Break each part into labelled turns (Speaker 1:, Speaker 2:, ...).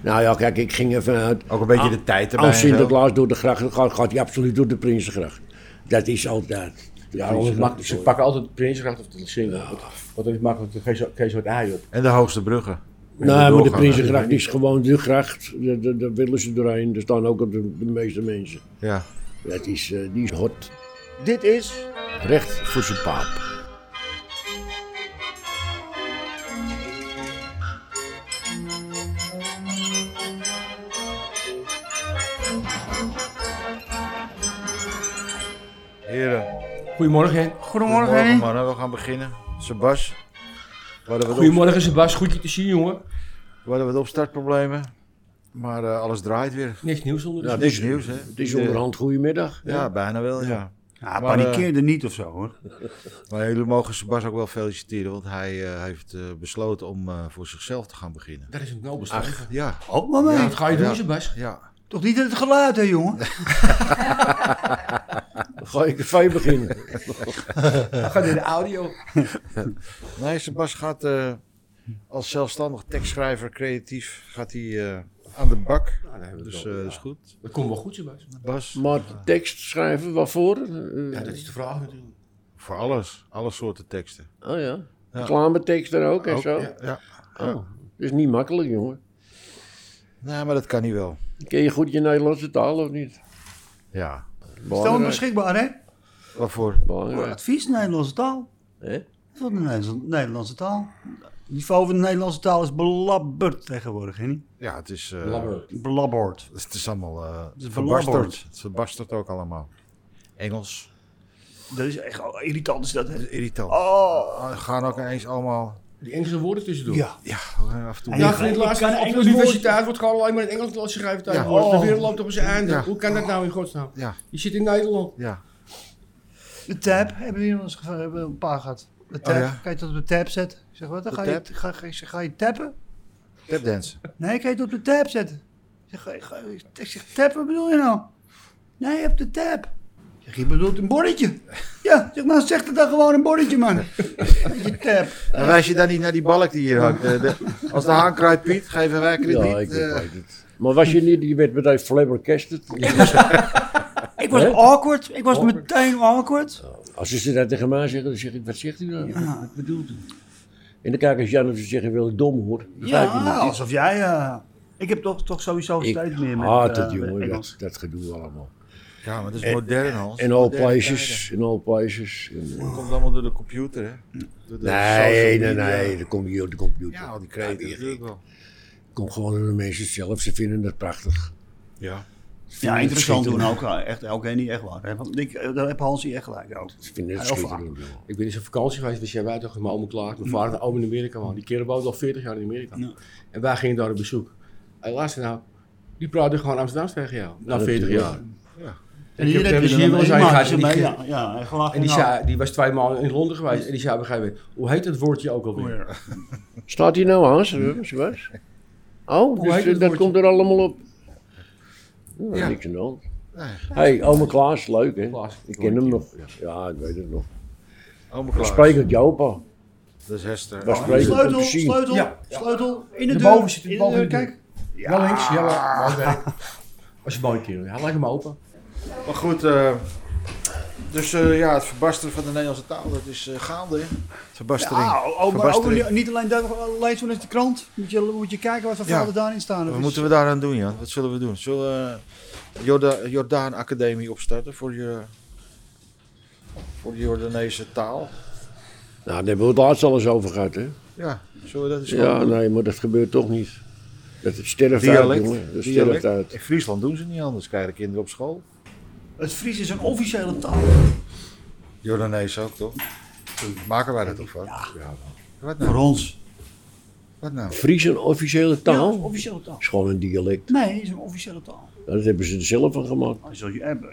Speaker 1: Nou ja, kijk, ik ging even uit.
Speaker 2: Ook een beetje
Speaker 1: Ah,
Speaker 2: de tijd erbij.
Speaker 1: Als
Speaker 2: en zo.
Speaker 1: Sinterklaas door de gracht gaat, gaat hij absoluut door de Prinsengracht. Dat is altijd. Ja,
Speaker 3: Daarom is het
Speaker 1: Prinsengracht
Speaker 3: makkelijk.
Speaker 1: is
Speaker 3: Ze
Speaker 1: mooi.
Speaker 3: pakken altijd de Prinsengracht of de Singel. Want- Want dat is makkelijk. Dan geef je wat ei op.
Speaker 2: En de hoogste bruggen.
Speaker 1: Nou, maar de
Speaker 2: doorgang,
Speaker 1: Prinsengracht is gewoon de gracht. Daar- Daar daar willen ze doorheen. Daar staan ook de, de meeste mensen.
Speaker 2: Ja.
Speaker 1: Dat is, eh, die is hot.
Speaker 3: Dit is
Speaker 1: Recht voor zijn paap.
Speaker 2: Heren.
Speaker 4: Goedemorgen. Henk.
Speaker 5: Goedemorgen, Henny.
Speaker 2: mannen. We gaan beginnen. Sebas. We hadden wat, op,
Speaker 4: Goedemorgen Sebas, goed je te zien jongen.
Speaker 2: we hadden wat opstartproblemen. Maar eh, alles draait weer.
Speaker 4: Niks nieuws onder de
Speaker 1: Ja,
Speaker 4: zon.
Speaker 1: het
Speaker 2: Niks
Speaker 1: is,
Speaker 2: nieuws, hè?
Speaker 1: het is onderhand goedemiddag.
Speaker 2: Ja, bijna wel, ja.
Speaker 5: Ja,
Speaker 2: Maar, eh,
Speaker 5: Ah, panikeerde niet of zo hoor.
Speaker 2: Maar jullie mogen Sebas ook wel feliciteren, want hij eh, heeft eh, besloten om eh, voor zichzelf te gaan beginnen.
Speaker 4: Dat is een nobel streven.
Speaker 2: Ja,
Speaker 5: Oh, mama.
Speaker 4: Wat ga je doen
Speaker 2: Ja.
Speaker 4: Sebas?
Speaker 2: ja.
Speaker 5: Toch niet het geluid, hè, jongen?
Speaker 1: Dan ga ik even beginnen.
Speaker 4: Ga naar de audio.
Speaker 2: Nee, Sebas gaat eh, als zelfstandig tekstschrijver, creatief, gaat hij eh, aan de bak.
Speaker 1: Nou,
Speaker 2: dus eh, dat is goed.
Speaker 4: Dat komt wel goed Sebas.
Speaker 2: Bas,
Speaker 1: Maar tekst schrijven, waarvoor? Eh,
Speaker 4: Ja, dat is de vraag natuurlijk.
Speaker 2: voor alles, alle soorten teksten.
Speaker 1: Oh ja. Reclametekst er ook en
Speaker 2: Ook,
Speaker 1: zo.
Speaker 2: Ja. ja.
Speaker 1: Oh, dat is niet makkelijk, jongen.
Speaker 2: Nee, maar dat kan hij wel.
Speaker 1: Ken je goed je Nederlandse taal of niet?
Speaker 2: Ja.
Speaker 5: Stel
Speaker 1: Belangrijk.
Speaker 5: beschikbaar, hè?
Speaker 2: Waarvoor?
Speaker 5: Voor
Speaker 1: Belangrijk.
Speaker 5: advies, Nederlandse taal.
Speaker 1: Hè?
Speaker 5: Voor de Nederlandse- Nederlandse taal. Het niveau van de Nederlandse taal is belabberd tegenwoordig, Henny.
Speaker 2: Ja, het is, eh,
Speaker 4: Blabber.
Speaker 5: Belabberd.
Speaker 2: het is allemaal eh,
Speaker 5: is
Speaker 2: verbasterd.
Speaker 5: belabberd.
Speaker 2: Het is verbasterd ook allemaal. Engels.
Speaker 5: Dat is echt oh, irritant, is dat, hè?
Speaker 2: Irritant.
Speaker 5: Oh.
Speaker 2: We gaan ook ineens allemaal...
Speaker 4: Die Engelse woorden tussendoor.
Speaker 5: Ja.
Speaker 2: Ja, af en toe...
Speaker 4: Ja,
Speaker 5: Ja,
Speaker 4: voor het
Speaker 5: ik
Speaker 4: laatst
Speaker 5: kan
Speaker 4: op de
Speaker 5: Engels
Speaker 4: universiteit wordt gewoon alleen maar in Engels losgeschreven schrijven tegenwoordig.
Speaker 5: Ja.
Speaker 4: De wereld loopt op zijn einde.
Speaker 2: Ja.
Speaker 4: Hoe kan dat nou in godsnaam?
Speaker 2: Ja.
Speaker 4: Je zit in Nederland.
Speaker 2: Ja.
Speaker 5: De tab hebben we hier wel eens geva- hebben we een paar gehad. De tab,
Speaker 2: Oh, ja.
Speaker 5: kan je dat op de tab zetten? Ik zeg, wat, dan
Speaker 2: De
Speaker 5: ga je,
Speaker 2: tab?
Speaker 5: ga, ga, ik zeg, ga je tappen?
Speaker 2: Tapdance.
Speaker 5: Nee, kan je het op de tab zetten? Ik zeg, ga je- ga je- ik zeg, tab, wat bedoel je nou? Nee, op de tab. Ik zeg, je bedoelt een bordetje. Ja, ik zeg, nou zeg het dan gewoon een bordetje, man. Met je tab.
Speaker 2: Dan wijs je dan niet naar die balk die hier hangt. Eh, de- als de haan kruipt Piet, geven wij krediet.
Speaker 1: Ja, ik
Speaker 2: eh.
Speaker 1: weet het. Maar was je niet, je werd meteen flabbergasted.
Speaker 5: Ik was
Speaker 1: Hè?
Speaker 5: awkward. Ik was meteen awkward.
Speaker 1: Als ze dat tegen mij zeggen, dan zeg ik, wat zegt u nou? Wat bedoelt u? En dan kijk ik als Jan of ze zeggen, wil ik dom hoor.
Speaker 5: Ja, alsof jij... eh, ik heb toch, toch sowieso
Speaker 1: Ik
Speaker 5: steeds meer met
Speaker 1: haat
Speaker 5: eh,
Speaker 1: het jongen, dat,
Speaker 5: Engels.
Speaker 1: dat gedoe allemaal.
Speaker 2: Ja, maar dat is modern Hans.
Speaker 1: In all
Speaker 2: Moderne
Speaker 1: places, in all places. En-
Speaker 2: tijden. Dat komt allemaal door de computer, hè? Door de
Speaker 1: Nee,
Speaker 2: social
Speaker 1: nee,
Speaker 2: media.
Speaker 1: nee, dat komt niet op de computer.
Speaker 2: Ja, al die kreten natuurlijk wel.
Speaker 1: Dat komt gewoon door de mensen zelf, ze vinden het prachtig.
Speaker 2: Ja.
Speaker 5: Ja, interessant doen ook. eh, Echt, oké, niet echt waar. hè, Want ik, eh, daar heb Hansie echt gelijk over.
Speaker 1: Ze vinden het
Speaker 5: Ja, of-
Speaker 1: schitterend. jongen.
Speaker 4: Ik ben eens op vakantie geweest, was jij buiten, mijn oom klaar. Mijn vader, oom in Amerika, man. Die kerel woont al 40 jaar in Amerika.
Speaker 5: Ja.
Speaker 4: En wij gingen daar op bezoek. En luister nou, die praten gewoon Amsterdams tegen jou. Na
Speaker 1: Ja,
Speaker 4: 40
Speaker 1: natuurlijk.
Speaker 4: jaar.
Speaker 2: Ja.
Speaker 4: En ik heb
Speaker 5: heb
Speaker 4: er
Speaker 5: je
Speaker 4: hier
Speaker 5: dan
Speaker 4: wel eens
Speaker 5: een
Speaker 4: een
Speaker 5: maatje
Speaker 4: gehad en die
Speaker 5: mee,
Speaker 4: ge-
Speaker 5: ja, ja, en gelachen
Speaker 4: En die,
Speaker 5: en al.
Speaker 4: zei, die was twee maanden in Londen geweest en die zei op een gegeven moment, hoe heet dat woordje ook alweer?
Speaker 1: Staat hier nou aan, Sebas? Oh, dus,
Speaker 4: heet
Speaker 1: eh,
Speaker 4: het
Speaker 1: dat
Speaker 4: woordje?
Speaker 1: komt er allemaal op. Ja,
Speaker 2: Ja.
Speaker 1: niks aan de hand.
Speaker 2: Nee.
Speaker 1: hey, oma Klaas, leuk hè?
Speaker 4: Klaas.
Speaker 1: Ik ken hem nog. Ja, ik weet het nog.
Speaker 2: Allemaal
Speaker 1: Ik
Speaker 2: klaar.
Speaker 1: spreek het Jopa.
Speaker 2: Dat is Hester.
Speaker 1: Wij
Speaker 2: Oh,
Speaker 1: spreken het om
Speaker 5: Sleutel,
Speaker 1: te zien.
Speaker 5: sleutel,
Speaker 4: Ja,
Speaker 5: sleutel. In de, deur.
Speaker 4: Daarboven zit het
Speaker 5: in
Speaker 4: bal
Speaker 5: de deur,
Speaker 4: in de
Speaker 5: kijk.
Speaker 4: Ja, links, ja, maar- maar- Als je mooi kerel, ja, leg hem open.
Speaker 2: Maar goed, eh, dus eh, ja, het verbasteren van de Nederlandse taal, dat is eh, gaande, hè? Verbastering.
Speaker 5: Ja, oh, oh, maar ook
Speaker 2: Verbastering.
Speaker 5: niet alleen dat, eh, lees wel eens de krant. Moet je, moet je kijken wat voor
Speaker 2: Ja.
Speaker 5: verhalen daarin staan.
Speaker 2: Wat
Speaker 5: Of
Speaker 2: moeten we daaraan doen, Jan? Wat zullen we doen? Zullen we Jorda Jordaan Academie opstarten voor, je, voor de Jordaanese taal?
Speaker 1: Nou, daar hebben we het laatst al eens over gehad hè?
Speaker 2: Ja, zullen we dat eens
Speaker 1: Ja,
Speaker 2: doen?
Speaker 1: nee, maar dat gebeurt toch niet. Dat het sterft uit, jongen. Dat sterft
Speaker 2: dialect.
Speaker 1: uit.
Speaker 2: In Friesland doen ze niet anders. Krijgen de kinderen op school.
Speaker 5: iets. Het Fries is een officiële taal.
Speaker 2: Jordanees ook, toch? Maken wij dat toch van? Ja. Wat
Speaker 5: Voor
Speaker 2: nou?
Speaker 5: ons.
Speaker 2: Wat nou?
Speaker 1: Fries een officiële
Speaker 5: Ja,
Speaker 1: taal?
Speaker 5: het is een officiële taal.
Speaker 1: is gewoon een dialect.
Speaker 5: Nee, het is een officiële taal.
Speaker 1: Ja, Dat hebben ze er zelf van gemaakt.
Speaker 5: Hij zal je hebben.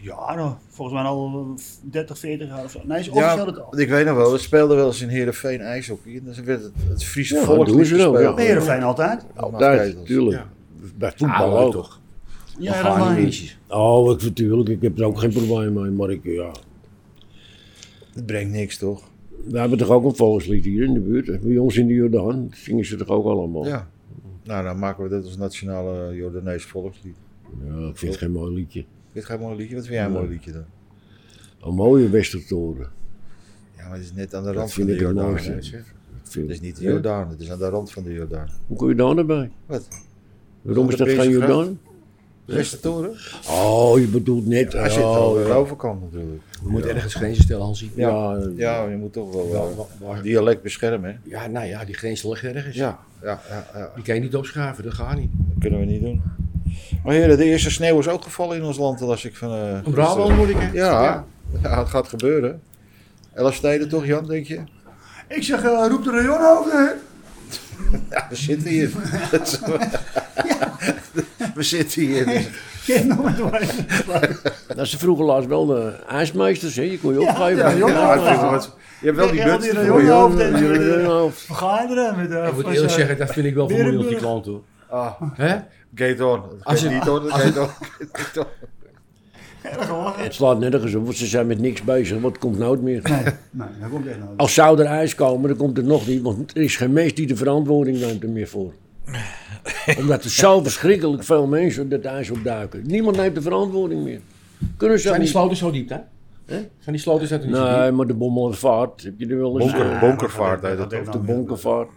Speaker 5: Jaren, volgens mij al eh, 30, 40 jaar of zo. Nee, het is een
Speaker 2: Ja,
Speaker 5: officiële taal.
Speaker 2: want ik weet nog wel, we speelden wel eens in Heerenveen ijshockey. En dan werd het, het Friese
Speaker 1: Ja,
Speaker 2: volk
Speaker 1: dat doen
Speaker 2: lied
Speaker 1: ze ook,
Speaker 2: gespeeld.
Speaker 1: ja.
Speaker 5: Heerenveen altijd.
Speaker 2: Allemaal
Speaker 1: Daar,
Speaker 2: ketels.
Speaker 1: natuurlijk.
Speaker 4: Ja. Ah,
Speaker 1: Bij voetbal ook.
Speaker 4: toch.
Speaker 5: Ja,
Speaker 4: Gaan
Speaker 5: dat
Speaker 4: die
Speaker 5: maar.
Speaker 4: beestjes.
Speaker 1: Oh, ik, natuurlijk. Ik heb er ook geen probleem mee. Maar ik, ja.
Speaker 2: Het brengt niks, toch?
Speaker 1: We hebben toch ook een volkslied hier in de buurt. hè? Bij ons in de Jordaan zingen ze toch ook allemaal.
Speaker 2: Ja. Nou, dan maken we dat als nationale eh, Jordanees volkslied.
Speaker 1: Ja, ik vind het geen mooi liedje.
Speaker 2: Dit gaat een mooi liedje. Wat vind jij een mooi liedje dan?
Speaker 1: Een mooie Westertoren.
Speaker 2: Ja, maar het is net aan de
Speaker 1: Dat
Speaker 2: rand van
Speaker 1: vind
Speaker 2: de
Speaker 1: ik het
Speaker 2: Jordaan.
Speaker 1: mooiste.
Speaker 2: hè, zeg.
Speaker 1: Ik
Speaker 2: Het
Speaker 1: vind-
Speaker 2: is niet de
Speaker 1: Ja.
Speaker 2: Jordaan, het is aan de rand van de Jordaan.
Speaker 1: Hoe kom je daar nou bij?
Speaker 2: Wat?
Speaker 1: Waarom is
Speaker 2: de
Speaker 1: dat geen
Speaker 2: Prinsengracht?
Speaker 1: Jordaan?
Speaker 2: Westertoren?
Speaker 1: Oh, je bedoelt net.
Speaker 2: Hij zit
Speaker 1: oh,
Speaker 2: aan de
Speaker 1: ja.
Speaker 2: overkant natuurlijk.
Speaker 4: Je moet ergens grenzen stellen, Hansie.
Speaker 1: Ja,
Speaker 2: Ja, je moet toch wel
Speaker 4: Wel,
Speaker 2: eh,
Speaker 4: wa- waar-
Speaker 2: dialect beschermen, hè?
Speaker 4: Ja, nou ja, die grenzen liggen ergens.
Speaker 2: Ja, ja, ja, ja,
Speaker 4: Die kan je niet opschuiven, dat gaat niet.
Speaker 2: dat kunnen we niet doen. Maar heren, de eerste sneeuw is ook gevallen in ons land, las ik van... eh,
Speaker 4: Een Brabant
Speaker 2: gisteren.
Speaker 4: moet ik hè?
Speaker 2: Ja, ja, het gaat gebeuren. Elf steden toch, Jan, denk je?
Speaker 5: Ik zeg, eh, roep de rayon over. hè?
Speaker 2: Ja, we zitten hier. we zitten hier. dus-
Speaker 5: Kijk nou met waar.
Speaker 1: Dat Nou, ze vroeger laatst wel de ijsmeesters, hè? Je kon je
Speaker 5: Ja,
Speaker 1: opgeven.
Speaker 5: ja, jongen.
Speaker 2: Ja, het is wel wat- je hebt wel die
Speaker 5: Ja, want
Speaker 2: buts.
Speaker 5: die
Speaker 2: voor
Speaker 5: rayon-
Speaker 2: Jan.
Speaker 5: hoofd en-
Speaker 1: Hoofd.
Speaker 5: Vergaderen met eh, de...
Speaker 4: Ik moet eerlijk zeggen, dat vind ik wel vermoeiend, die
Speaker 5: Berenburg.
Speaker 4: klant hoor.
Speaker 2: Ah,
Speaker 4: Hè?
Speaker 2: gate on.
Speaker 4: Als
Speaker 2: Als
Speaker 4: je-
Speaker 2: je niet hoor, gate on. Gate on.
Speaker 5: Erg hoor.
Speaker 1: Het slaat nergens op, want ze zijn met niks bezig. Wat komt nooit meer?
Speaker 5: Nee, nee, dat komt echt nou.
Speaker 1: Als zou er ijs komen, dan komt het nog niet. Want er is geen mens die de verantwoording neemt er meer voor. Omdat er zo verschrikkelijk veel mensen dat ijs opduiken. Niemand neemt de verantwoording meer. Kunnen ze ook
Speaker 4: Zijn die
Speaker 1: niet.
Speaker 4: sloten zo diep, hè? Zijn die sloten zo diep?
Speaker 1: Nee, maar de bommelenvaart, heb je er wel eens...
Speaker 2: Bonker,
Speaker 1: eh,
Speaker 2: bonkervaart heet dat
Speaker 5: dat
Speaker 2: ook.
Speaker 5: heeft
Speaker 1: de bonkenvaart.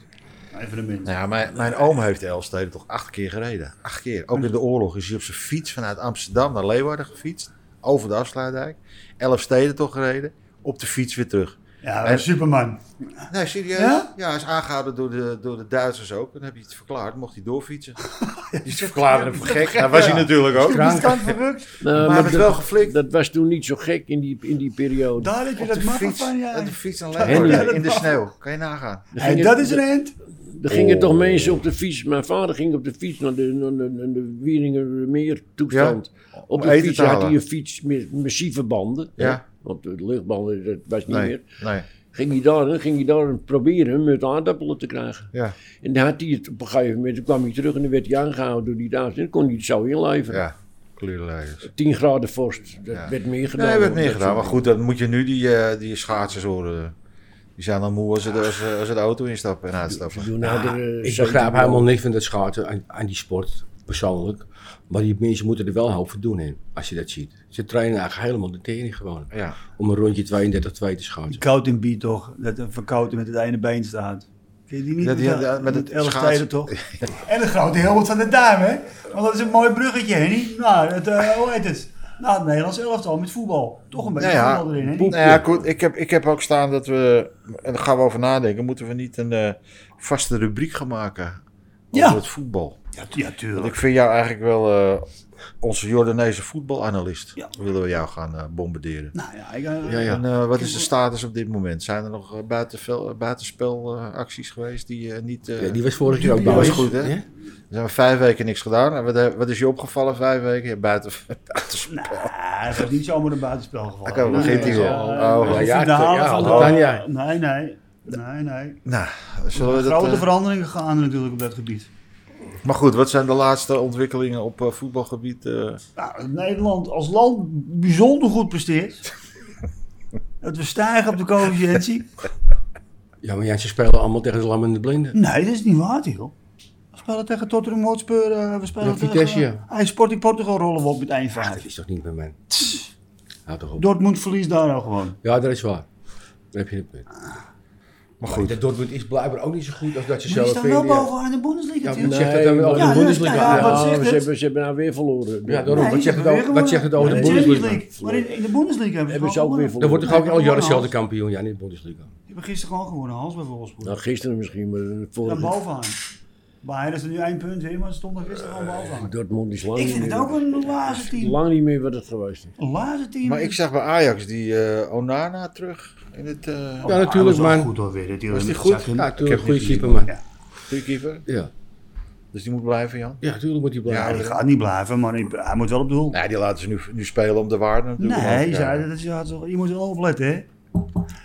Speaker 5: Even een minuut.
Speaker 2: Nou ja, mijn, mijn oom heeft de Elstede toch acht keer gereden. Acht keer. Ook in de oorlog is hij op zijn fiets vanuit Amsterdam naar Leeuwarden gefietst. Over de afsluitdijk. Elf steden toch gereden. Op de fiets weer terug.
Speaker 5: Ja, dat is Superman.
Speaker 2: Nee, serieus?
Speaker 5: Ja?
Speaker 2: Ja, hij is aangehouden door de, door de Duitsers ook. Dan heb je het verklaard. Mocht hij doorfietsen. Die verklaarden hem voor gek. Dat was hij natuurlijk ook.
Speaker 5: Die stand verrukt.
Speaker 1: Nou,
Speaker 2: Maar hij werd
Speaker 1: dat-
Speaker 2: wel geflikt.
Speaker 1: Dat was toen niet zo gek in die, in die periode.
Speaker 5: Daar heb je
Speaker 2: Op
Speaker 5: dat
Speaker 2: de
Speaker 5: maffe
Speaker 2: fiets.
Speaker 5: van, ja.
Speaker 2: Op de fiets naar
Speaker 1: Henry.
Speaker 2: Leeuwarden. In de sneeuw. Kan je nagaan.
Speaker 1: Er
Speaker 5: Hey,
Speaker 1: gingen-
Speaker 5: dat is een end.
Speaker 1: Er gingen
Speaker 2: Oh.
Speaker 1: toch mensen op de fiets. Mijn vader ging op de fiets naar de, naar de, naar de Wieringermeer toestand. op de
Speaker 2: eten
Speaker 1: fiets
Speaker 2: te
Speaker 1: had
Speaker 2: halen.
Speaker 1: hij een fiets met massieve banden.
Speaker 2: Ja.
Speaker 1: hè, Want de luchtbanden, dat was niet meer.
Speaker 2: Nee. nee.
Speaker 1: Ging hij daar, ging hij daar proberen met aardappelen te krijgen.
Speaker 2: Ja.
Speaker 1: En dan had hij het op een gegeven moment, dan kwam hij terug en dan werd hij aangehouden door die dames. En dan kon hij het zo inleveren.
Speaker 2: Ja. Kleurleiders.
Speaker 1: 10 graden vorst, dat
Speaker 2: Ja.
Speaker 1: werd meer gedaan.
Speaker 2: Nee, we hebben
Speaker 1: hoor,
Speaker 2: het meer
Speaker 1: dat
Speaker 2: gedaan. Maar
Speaker 1: soort
Speaker 2: goed, dan moet je nu die, eh, die schaatsers horen. Die zijn dan moe als ze, de- als, ze- als ze de auto instappen en
Speaker 1: dingen.
Speaker 2: uitstappen.
Speaker 1: Toen
Speaker 4: Ja,
Speaker 1: hadden we
Speaker 4: ik
Speaker 1: nou, zeven
Speaker 4: begrijp
Speaker 1: man.
Speaker 4: helemaal niks van dat schaatsen aan, aan die sport, persoonlijk. Maar die mensen moeten er wel een hoop voor doen in, als je dat ziet. Ze trainen eigenlijk helemaal de tering gewoon.
Speaker 2: Ja.
Speaker 4: Om een rondje 32-2 te schaatsen.
Speaker 5: Koud in bier toch? Dat een verkouden met het ene been staat. Ken je die niet?
Speaker 2: Ja, die-
Speaker 5: Met-
Speaker 2: ja, met het
Speaker 5: elf
Speaker 2: schaatsen.
Speaker 5: tijden toch? en de grote helmut van de duim, hè? Want dat is een mooi bruggetje, Henny. Nou, het, eh, hoe heet het? Nou, het Nederlands elftal met voetbal. Toch een beetje
Speaker 2: Nou ja,
Speaker 5: voetbal erin, hè?
Speaker 2: Nou ja, goed, ik heb, ik heb ook staan dat we, en daar gaan we over nadenken, moeten we niet een eh, vaste rubriek gaan maken
Speaker 5: Ja.
Speaker 2: over het voetbal.
Speaker 5: Ja, tu- ja,
Speaker 2: Want ik
Speaker 5: tuurlijk.
Speaker 2: vind jou eigenlijk wel eh, onze Jordaanese voetbalanalist.
Speaker 5: Ja.
Speaker 2: Willen we jou gaan eh, bombarderen.
Speaker 5: Nou ja, ik, eh,
Speaker 4: Ja, ja.
Speaker 2: En eh, wat is de status op dit moment? Zijn er nog eh, buitenvel- buitenspelacties geweest die eh, niet... eh,
Speaker 4: Ja, die was vorig jaar ook
Speaker 2: Die
Speaker 4: bij
Speaker 2: was
Speaker 4: ons.
Speaker 2: goed, hè?
Speaker 4: Ja?
Speaker 2: We hebben vijf weken niks gedaan. En wat, wat is je opgevallen vijf weken? Ja, buiten.
Speaker 5: Nou, hij gaat niet zomaar een buitenspel gevallen.
Speaker 2: Oké,
Speaker 5: Nee,
Speaker 2: begint hij
Speaker 5: dat is,
Speaker 2: weer.
Speaker 5: eh,
Speaker 2: Oh,
Speaker 5: dat is
Speaker 4: ja,
Speaker 5: de verhalen
Speaker 4: ja,
Speaker 5: van de-
Speaker 4: hallo. Dan jij.
Speaker 5: Nee, nee. Nee, nee.
Speaker 2: Nou, zullen we
Speaker 5: Grote
Speaker 2: dat, eh,
Speaker 5: veranderingen gaan er natuurlijk op dat gebied.
Speaker 2: maar goed, wat zijn de laatste ontwikkelingen op eh, voetbalgebied? eh?
Speaker 5: Nou, dat Nederland als land bijzonder goed presteert. dat we stijgen op de coëfficiëntie.
Speaker 4: Ja, maar ja, ze spelen allemaal tegen de lam en de blinden.
Speaker 5: Nee, dat is niet waar, joh. We spelen tegen Tottenham Hotspur. eh, we spelen
Speaker 4: Ja, Vitesse,
Speaker 5: tegen...
Speaker 4: ja.
Speaker 5: Hij Sporting Portugal rollen we op met
Speaker 4: Ah, dat
Speaker 5: 1-5.
Speaker 4: is toch niet met mij. Houd toch op.
Speaker 5: Dortmund verliest daar al gewoon.
Speaker 4: Ja, dat is waar. Daar heb je het punt.
Speaker 2: Maar goed.
Speaker 4: Dat Dortmund is blijkbaar ook niet zo goed als dat je
Speaker 5: Maar
Speaker 4: zelf
Speaker 5: die
Speaker 4: vindt.
Speaker 5: staan wel
Speaker 4: ja.
Speaker 5: bovenaan in de Bundesliga,
Speaker 4: Ja,
Speaker 5: natuurlijk.
Speaker 4: wat zegt dat dan
Speaker 1: Nee,
Speaker 4: over
Speaker 5: ja,
Speaker 4: de
Speaker 5: ja,
Speaker 4: Bundesliga?
Speaker 5: ja,
Speaker 4: Ja,
Speaker 5: wat zegt
Speaker 1: ze,
Speaker 5: het?
Speaker 1: hebben, ze hebben nou weer verloren.
Speaker 4: Ja, daarom.
Speaker 5: Nee,
Speaker 4: wat, zegt
Speaker 5: ze
Speaker 4: het over,
Speaker 5: hebben
Speaker 4: wat zegt het over de
Speaker 5: gewonnen. Ja, Champions
Speaker 4: Bundesliga?
Speaker 5: League. Maar in, in de Bundesliga hebben,
Speaker 1: Hebben ze
Speaker 5: gewoon
Speaker 1: ook weer
Speaker 4: Dan
Speaker 5: gewonnen.
Speaker 4: wordt toch ook al
Speaker 5: Gewonnen,
Speaker 4: jaren dezelfde
Speaker 5: Hans.
Speaker 4: kampioen, ja, in de Bundesliga.
Speaker 5: Die hebben gisteren gewoon gewonnen, Hans, bij Wolfsburg.
Speaker 1: Nou, gisteren misschien, maar
Speaker 5: Daar
Speaker 1: voor
Speaker 5: bovenaan. Bayern is er nu één punt in, maar ze stonden gisteren gewoon bovenaan.
Speaker 1: Dortmund is lang
Speaker 5: Ik
Speaker 1: niet
Speaker 5: vind het
Speaker 1: meer-
Speaker 5: ook een lazer team.
Speaker 1: lang niet meer wat het geweest is.
Speaker 5: Een lazer team.
Speaker 2: Maar ik zag bij Ajax die eh, Onana terug in het eh
Speaker 4: Ja, natuurlijk,
Speaker 5: maar.
Speaker 4: man.
Speaker 5: goed hoor, weer.
Speaker 2: Was die goed?
Speaker 4: Ja,
Speaker 2: Ik heb
Speaker 4: natuurlijk, goede
Speaker 2: niet gezien.
Speaker 4: keeper, man.
Speaker 5: Ja.
Speaker 2: goalkeeper.
Speaker 4: Ja.
Speaker 2: Dus die moet blijven, Jan.
Speaker 4: ja, natuurlijk moet hij
Speaker 5: Ja,
Speaker 4: blijven.
Speaker 5: die gaat niet blijven, maar die- hij moet wel op doel.
Speaker 2: Nee, die laten ze nu, nu spelen om de waarde
Speaker 5: Nee,
Speaker 2: natuurlijk.
Speaker 5: hij
Speaker 2: Ja.
Speaker 5: zei, dat is, ja, zo- je moet wel opletten, hè.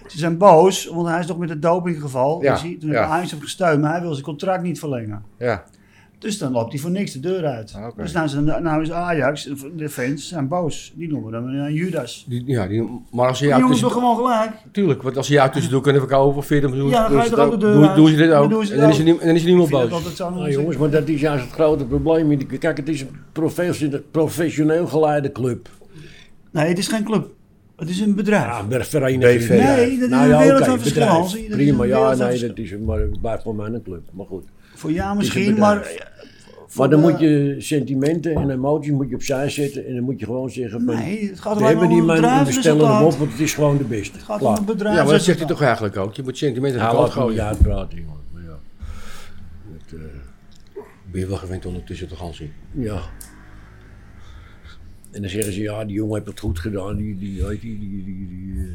Speaker 5: Ze zijn boos, want hij is nog met het dopinggeval.
Speaker 2: Ja,
Speaker 5: dus hij- toen
Speaker 2: ja.
Speaker 5: heeft Ajax hem gesteund, maar hij wil zijn contract niet verlengen.
Speaker 2: Ja.
Speaker 5: Dus dan loopt hij voor niks de deur uit.
Speaker 2: Ah, oké.
Speaker 5: Dus nou is, nou is Ajax, de fans zijn boos. Die noemen hem een Judas.
Speaker 4: Die, ja, die, maar als ze
Speaker 5: Die
Speaker 4: jou
Speaker 5: jongens
Speaker 4: tussen,
Speaker 5: doen gewoon gelijk.
Speaker 4: tuurlijk, want als ze jou tussendoor kunnen verkopen voor 40 miljoen,
Speaker 5: Ja, dan
Speaker 4: doen
Speaker 5: ga
Speaker 4: ze
Speaker 5: je
Speaker 4: het
Speaker 5: toch ook
Speaker 4: ook.
Speaker 5: de deur
Speaker 4: Doe-
Speaker 5: uit.
Speaker 4: doen ze dit
Speaker 5: Dan
Speaker 4: ook.
Speaker 5: doen ze
Speaker 4: En dan
Speaker 5: het
Speaker 4: is er
Speaker 5: ook.
Speaker 4: nie- en dan is er
Speaker 5: Ik
Speaker 4: niemand
Speaker 5: vind het
Speaker 4: boos.
Speaker 5: altijd zo
Speaker 1: Nou jongens, maar dat is juist het grote probleem. in die- Kijk, het is een professioneel, professioneel geleide club.
Speaker 5: Nee, het is geen club. Het is een bedrijf.
Speaker 1: Ja, een vereniging.
Speaker 2: BV.
Speaker 5: Nee, dat is
Speaker 1: Nou
Speaker 5: een wereld van verschil, Hans. Dat is een
Speaker 1: Prima,
Speaker 5: wereld
Speaker 1: ja,
Speaker 5: van
Speaker 1: nee,
Speaker 5: verschil.
Speaker 1: dat is, een- maar het blijft voor mij een club. Maar goed.
Speaker 5: Voor ja
Speaker 1: Het
Speaker 5: misschien,
Speaker 1: is een
Speaker 5: maar...
Speaker 1: bedrijf.
Speaker 5: eh, voor
Speaker 1: Maar dan
Speaker 5: de-
Speaker 1: moet je sentimenten en emoties moet je opzij zetten. En dan moet je gewoon zeggen van...
Speaker 5: Nee, het gaat
Speaker 1: we
Speaker 5: alleen maar
Speaker 1: hebben die
Speaker 5: om
Speaker 1: man en we stellen hem
Speaker 5: bedrijfsresultaat.
Speaker 1: op, want het is gewoon de beste.
Speaker 5: Het gaat om het
Speaker 4: Ja, maar dat zegt hij
Speaker 5: bedrijfsresultaat.
Speaker 4: toch eigenlijk ook. Je moet sentimenten aan de
Speaker 1: Hou
Speaker 4: kant
Speaker 1: af met
Speaker 4: gooien.
Speaker 1: je uitpraten, jongen. Maar ja. Het, eh,
Speaker 4: Ben je wel gewend ondertussen toch, Hansie?
Speaker 1: ja. En dan zeggen ze, ja, die jongen heeft het goed gedaan. Die, die, die, die, die, die, die, eh,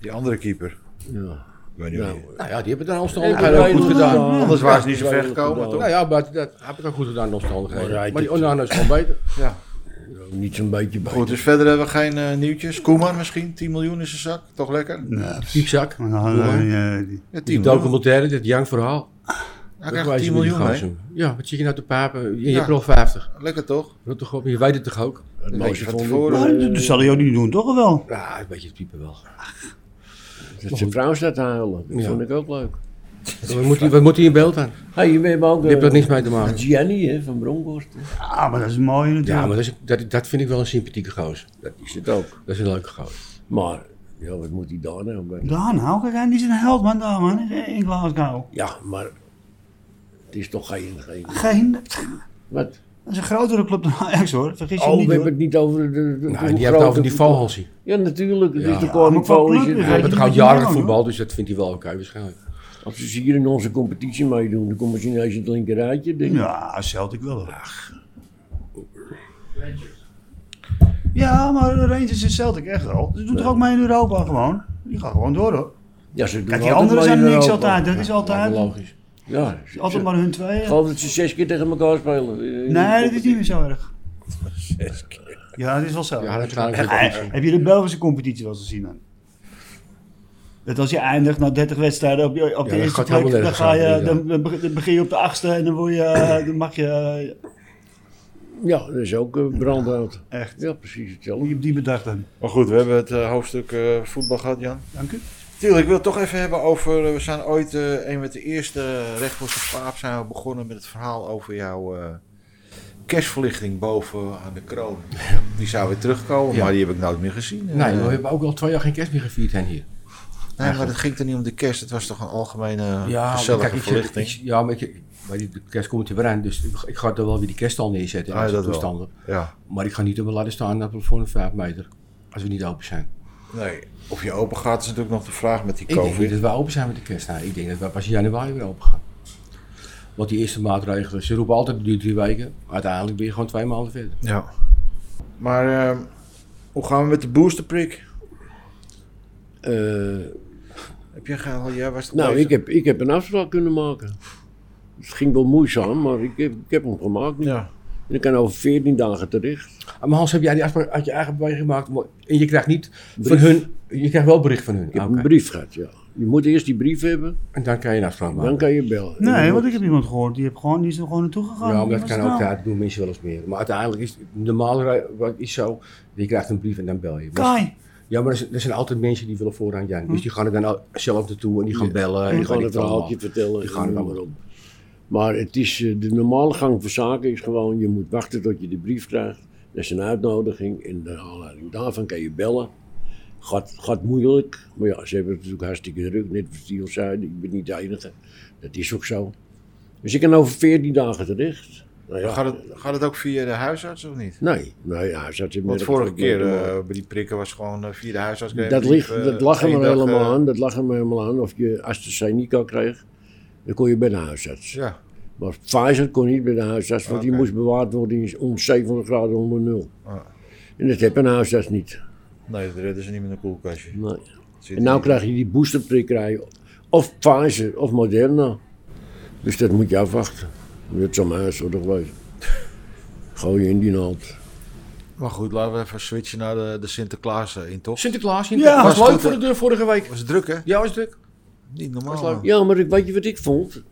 Speaker 2: Die andere keeper.
Speaker 1: ja.
Speaker 2: Ik weet niet
Speaker 1: Nou,
Speaker 2: meer.
Speaker 4: Nou ja, die hebben het aan
Speaker 1: Hebben wij
Speaker 4: omstandigheden ook goed
Speaker 1: het
Speaker 4: gedaan.
Speaker 1: gedaan?
Speaker 2: Anders waren ze niet zo
Speaker 1: Ja,
Speaker 2: ver
Speaker 1: heel
Speaker 2: gekomen,
Speaker 1: goed
Speaker 2: toch?
Speaker 4: Nou ja, maar dat heb ik ook goed gedaan, de omstandigheden.
Speaker 1: Maar hij
Speaker 4: Maar die
Speaker 1: doet-
Speaker 4: Onana is gewoon beter.
Speaker 1: niet zo'n beetje bij.
Speaker 2: Goed, dus verder hebben we geen eh, nieuwtjes. Koeman misschien, 10 miljoen in zijn zak. Toch lekker?
Speaker 5: Nee, pff.
Speaker 4: Diepzak.
Speaker 5: Nou,
Speaker 4: Koeman.
Speaker 5: eh, die-
Speaker 2: Ja, 10
Speaker 4: Die
Speaker 2: miljoen.
Speaker 4: documentaire, dit Young verhaal.
Speaker 2: Hij
Speaker 4: Dat
Speaker 2: krijgt
Speaker 4: wijzen
Speaker 2: 10
Speaker 4: we die
Speaker 2: miljoen mee.
Speaker 4: gozer. Ja, wat zie je nou te papen? Je
Speaker 2: Ja.
Speaker 4: hebt er al 50.
Speaker 2: Lekker toch?
Speaker 4: Rot toch op, je weet het toch ook?
Speaker 1: Het
Speaker 2: Een
Speaker 1: mooiste
Speaker 2: beetje van
Speaker 1: vond ik,
Speaker 2: tevoren.
Speaker 5: Nou, dat- dat zal hij ook niet doen, toch wel?
Speaker 4: Ja, een beetje het type wel.
Speaker 1: dat zijn vrouw staat te huilen. Dat
Speaker 4: Ja.
Speaker 1: vond ik ook leuk.
Speaker 4: Wat moet, hij, wat moet hij in beeld aan?
Speaker 1: Hey, we hebben ook
Speaker 4: Je hebt
Speaker 1: eh,
Speaker 4: er niks mee te maken.
Speaker 1: Gianni hè, van Bronkhorst.
Speaker 5: Ja, maar dat is mooi
Speaker 4: Ja,
Speaker 5: natuurlijk.
Speaker 4: maar dat, is, dat, dat vind ik wel een sympathieke gozer.
Speaker 1: Dat is het ook.
Speaker 4: Dat is een leuke gozer.
Speaker 1: Maar, ja, wat moet hij daar nou mee?
Speaker 5: Daar nou, kijk, hij is een held man daar man, in in Glasgow.
Speaker 1: Ja, maar het is toch geen... geen
Speaker 5: Geen,
Speaker 1: wat?
Speaker 5: dat is een grotere club dan Ajax hoor, vergis je
Speaker 1: Oh,
Speaker 5: niet
Speaker 1: we hebben het
Speaker 5: hoor.
Speaker 1: niet over de... de- de
Speaker 4: Nou,
Speaker 1: hoe
Speaker 4: en die hebt
Speaker 1: groot
Speaker 4: het over
Speaker 1: de-
Speaker 4: die valhalsie.
Speaker 1: Ja, natuurlijk. Het
Speaker 4: Ja.
Speaker 1: is de
Speaker 4: Ja,
Speaker 1: koning
Speaker 5: Oh, maar wat
Speaker 1: Polish.
Speaker 5: leuk is,
Speaker 1: en-
Speaker 4: Hij heeft
Speaker 5: die
Speaker 4: het
Speaker 5: moet
Speaker 4: gaat
Speaker 5: je
Speaker 4: jaren
Speaker 5: wel, hoor.
Speaker 4: voetbal, dus dat vindt hij wel oké waarschijnlijk.
Speaker 1: Als ze hier in onze competitie meedoen, dan komen ze ineens in het linkerrijtje. denk ik.
Speaker 5: Ja, Celtic wel hoor. Ja, maar Rangers en Celtic echt wel. Ze doen toch ook mee in Europa gewoon? Die gaan gewoon door hoor.
Speaker 1: Ja, ze doen
Speaker 5: Kijk, die
Speaker 1: altijd
Speaker 5: anderen
Speaker 1: mee in
Speaker 5: zijn niks
Speaker 1: Europa.
Speaker 5: altijd, dat is altijd.
Speaker 4: Nou, Logisch.
Speaker 1: Ja, ze-
Speaker 5: Altijd
Speaker 1: ze-
Speaker 5: maar hun
Speaker 1: Ik
Speaker 5: tweeën.
Speaker 1: geloof dat ze zes keer tegen elkaar spelen. eh, in de
Speaker 5: Nee, dat is niet
Speaker 1: competitie.
Speaker 5: meer zo erg. Ja, dat is wel zo.
Speaker 4: Ja, dat gaat
Speaker 5: Heb- heb je de Belgische competitie wel eens gezien dan? Dat als je eindigt na 30 wedstrijden op, je- op de
Speaker 4: dat
Speaker 5: eerste
Speaker 4: gaat
Speaker 5: plek,
Speaker 4: helemaal
Speaker 5: dan,
Speaker 4: nergens
Speaker 5: ga je,
Speaker 4: over,
Speaker 5: dan, dan beg- dan begin je op de achtste en dan, word je, eh, dan mag je eh,
Speaker 1: Ja, dat is ook eh, brandhout.
Speaker 5: echt.
Speaker 1: Ja, precies
Speaker 5: Je
Speaker 1: hetzelfde.
Speaker 5: hebt die bedacht dan.
Speaker 2: Maar goed, we hebben het eh, hoofdstuk eh, voetbal gehad, Jan.
Speaker 5: Dank u.
Speaker 2: Tuurlijk, ik wil het toch even hebben over. eh, we zijn ooit eh, een met de eerste rechtbosse paap zijn we begonnen met het verhaal over jouw eh, kerstverlichting boven aan de kroon. Die zou weer terugkomen,
Speaker 4: Ja.
Speaker 2: maar die heb ik nooit meer gezien.
Speaker 4: Nee,
Speaker 2: Eh,
Speaker 4: maar we hebben ook al twee jaar geen kerst meer gevierd hen hier.
Speaker 2: nee, maar het ging er niet om de kerst. Het was toch een algemene
Speaker 4: maar
Speaker 2: gezellige
Speaker 4: ik-
Speaker 2: verlichting.
Speaker 4: Ik, ja, maar, ik, maar die, de kerst komt er weer aan, dus ik, ik ga er wel weer die kerststal neerzetten.
Speaker 2: Ah,
Speaker 4: als
Speaker 2: dat
Speaker 4: het
Speaker 2: wel.
Speaker 4: toestanden.
Speaker 2: ja,
Speaker 4: Maar ik ga niet op laten staan dat we voor een 5 meter, als we niet open zijn.
Speaker 2: nee. Of je open gaat is natuurlijk nog de vraag met die
Speaker 4: Ik denk niet
Speaker 2: COVID.
Speaker 4: dat we open zijn met de kerst. Nou, ik denk dat we pas in januari weer open gaan. Want die eerste maatregelen, ze roepen altijd het duurt drie weken. Uiteindelijk ben je gewoon twee maanden verder.
Speaker 2: Ja. Maar eh, hoe gaan we met de boosterprik?
Speaker 1: Eh,
Speaker 2: Heb je gehaald? Jij was toch
Speaker 1: nou,
Speaker 2: bezig?
Speaker 1: ik heb, ik heb een afspraak kunnen maken. Het ging wel moeizaam, maar ik heb, ik heb hem gemaakt. nu.
Speaker 2: Ja.
Speaker 1: En ik kan over 14 dagen terecht.
Speaker 4: Ah, Maar Hans, heb jij die afspraak uit je eigen beweging gemaakt? Maar- En je krijgt niet van hun, je krijgt wel bericht van hun.
Speaker 1: Ik heb
Speaker 4: Ah, oké.
Speaker 1: een brief gehad, ja. Je moet eerst die brief hebben,
Speaker 4: En dan kan je een afspraak maken.
Speaker 1: dan kan je bellen.
Speaker 5: Nee,
Speaker 1: En
Speaker 5: want
Speaker 1: dan-
Speaker 5: ik heb iemand gehoord, die, heb gewoon, die is er gewoon naartoe gegaan.
Speaker 4: Ja, maar
Speaker 5: Die
Speaker 4: dat
Speaker 5: was
Speaker 4: kan
Speaker 5: er
Speaker 4: ook,
Speaker 5: Oh, wel.
Speaker 4: ja, dat doen mensen wel eens meer. Maar uiteindelijk is normaal rij- wat is zo, je krijgt een brief en dan bel je. Maar-
Speaker 5: Kai.
Speaker 4: ja, maar er zijn, er zijn altijd mensen die willen vooraan zijn. Dus die gaan er dan al- zelf naartoe en die gaan bellen. En
Speaker 1: Ik
Speaker 4: die
Speaker 1: ga
Speaker 4: gaan
Speaker 1: het verhaaltje vertellen.
Speaker 4: Die
Speaker 1: Ik
Speaker 4: gaan
Speaker 1: ga
Speaker 4: er
Speaker 1: maar
Speaker 4: allemaal.
Speaker 1: op. Maar het is, eh, de normale gang van zaken is gewoon: je moet wachten tot je de brief krijgt. Dat is een uitnodiging. En naar aanleiding daarvan kan je bellen. Gaat, gaat moeilijk. Maar ja, ze hebben het natuurlijk hartstikke druk. Net wat die al zei, ik ben niet de enige. Dat is ook zo. Dus ik kan over 14 dagen terecht. Nou ja,
Speaker 2: Gaat, het, gaat het ook via de huisarts of niet?
Speaker 1: Nee, nee ja, hij zat in
Speaker 2: Want vorige keer eh, bij die prikken was gewoon eh, via de huisarts. kreeg je
Speaker 1: Dat,
Speaker 2: een
Speaker 1: ligt,
Speaker 2: brief, eh,
Speaker 1: dat lag er
Speaker 2: één
Speaker 1: maar
Speaker 2: dag,
Speaker 1: helemaal
Speaker 2: eh,
Speaker 1: aan. Dat lag er maar helemaal aan. Of je AstraZeneca kreeg, dan kon je bij de huisarts.
Speaker 2: eh, Ja,
Speaker 1: Maar Pfizer kon niet bij de huisarts, want die
Speaker 2: Oké.
Speaker 1: moest bewaard worden in om 70 graden onder nul.
Speaker 2: Ah.
Speaker 1: En dat heb een huisarts niet.
Speaker 2: nee, dat redden ze niet met een koelkastje.
Speaker 1: Nee.
Speaker 2: Zit
Speaker 1: En nou
Speaker 2: hier.
Speaker 1: krijg je die boosterprik krijgen. Of Pfizer of Moderna. Dus dat moet je afwachten. Dat zou mijn huis toch wezen. Gooi je in die naald.
Speaker 2: Maar goed, laten we even switchen naar de, de Sinterklaas eh, in toch?
Speaker 4: Sinterklaas,
Speaker 5: Ja,
Speaker 4: Sinterklaas. was,
Speaker 2: was
Speaker 4: leuk
Speaker 2: goed,
Speaker 4: voor de
Speaker 2: hè?
Speaker 4: deur vorige week.
Speaker 2: Was druk hè?
Speaker 4: Ja, was druk.
Speaker 2: Niet normaal.
Speaker 4: Was leuk.
Speaker 2: man.
Speaker 1: Ja, maar ik, weet je wat ik vond?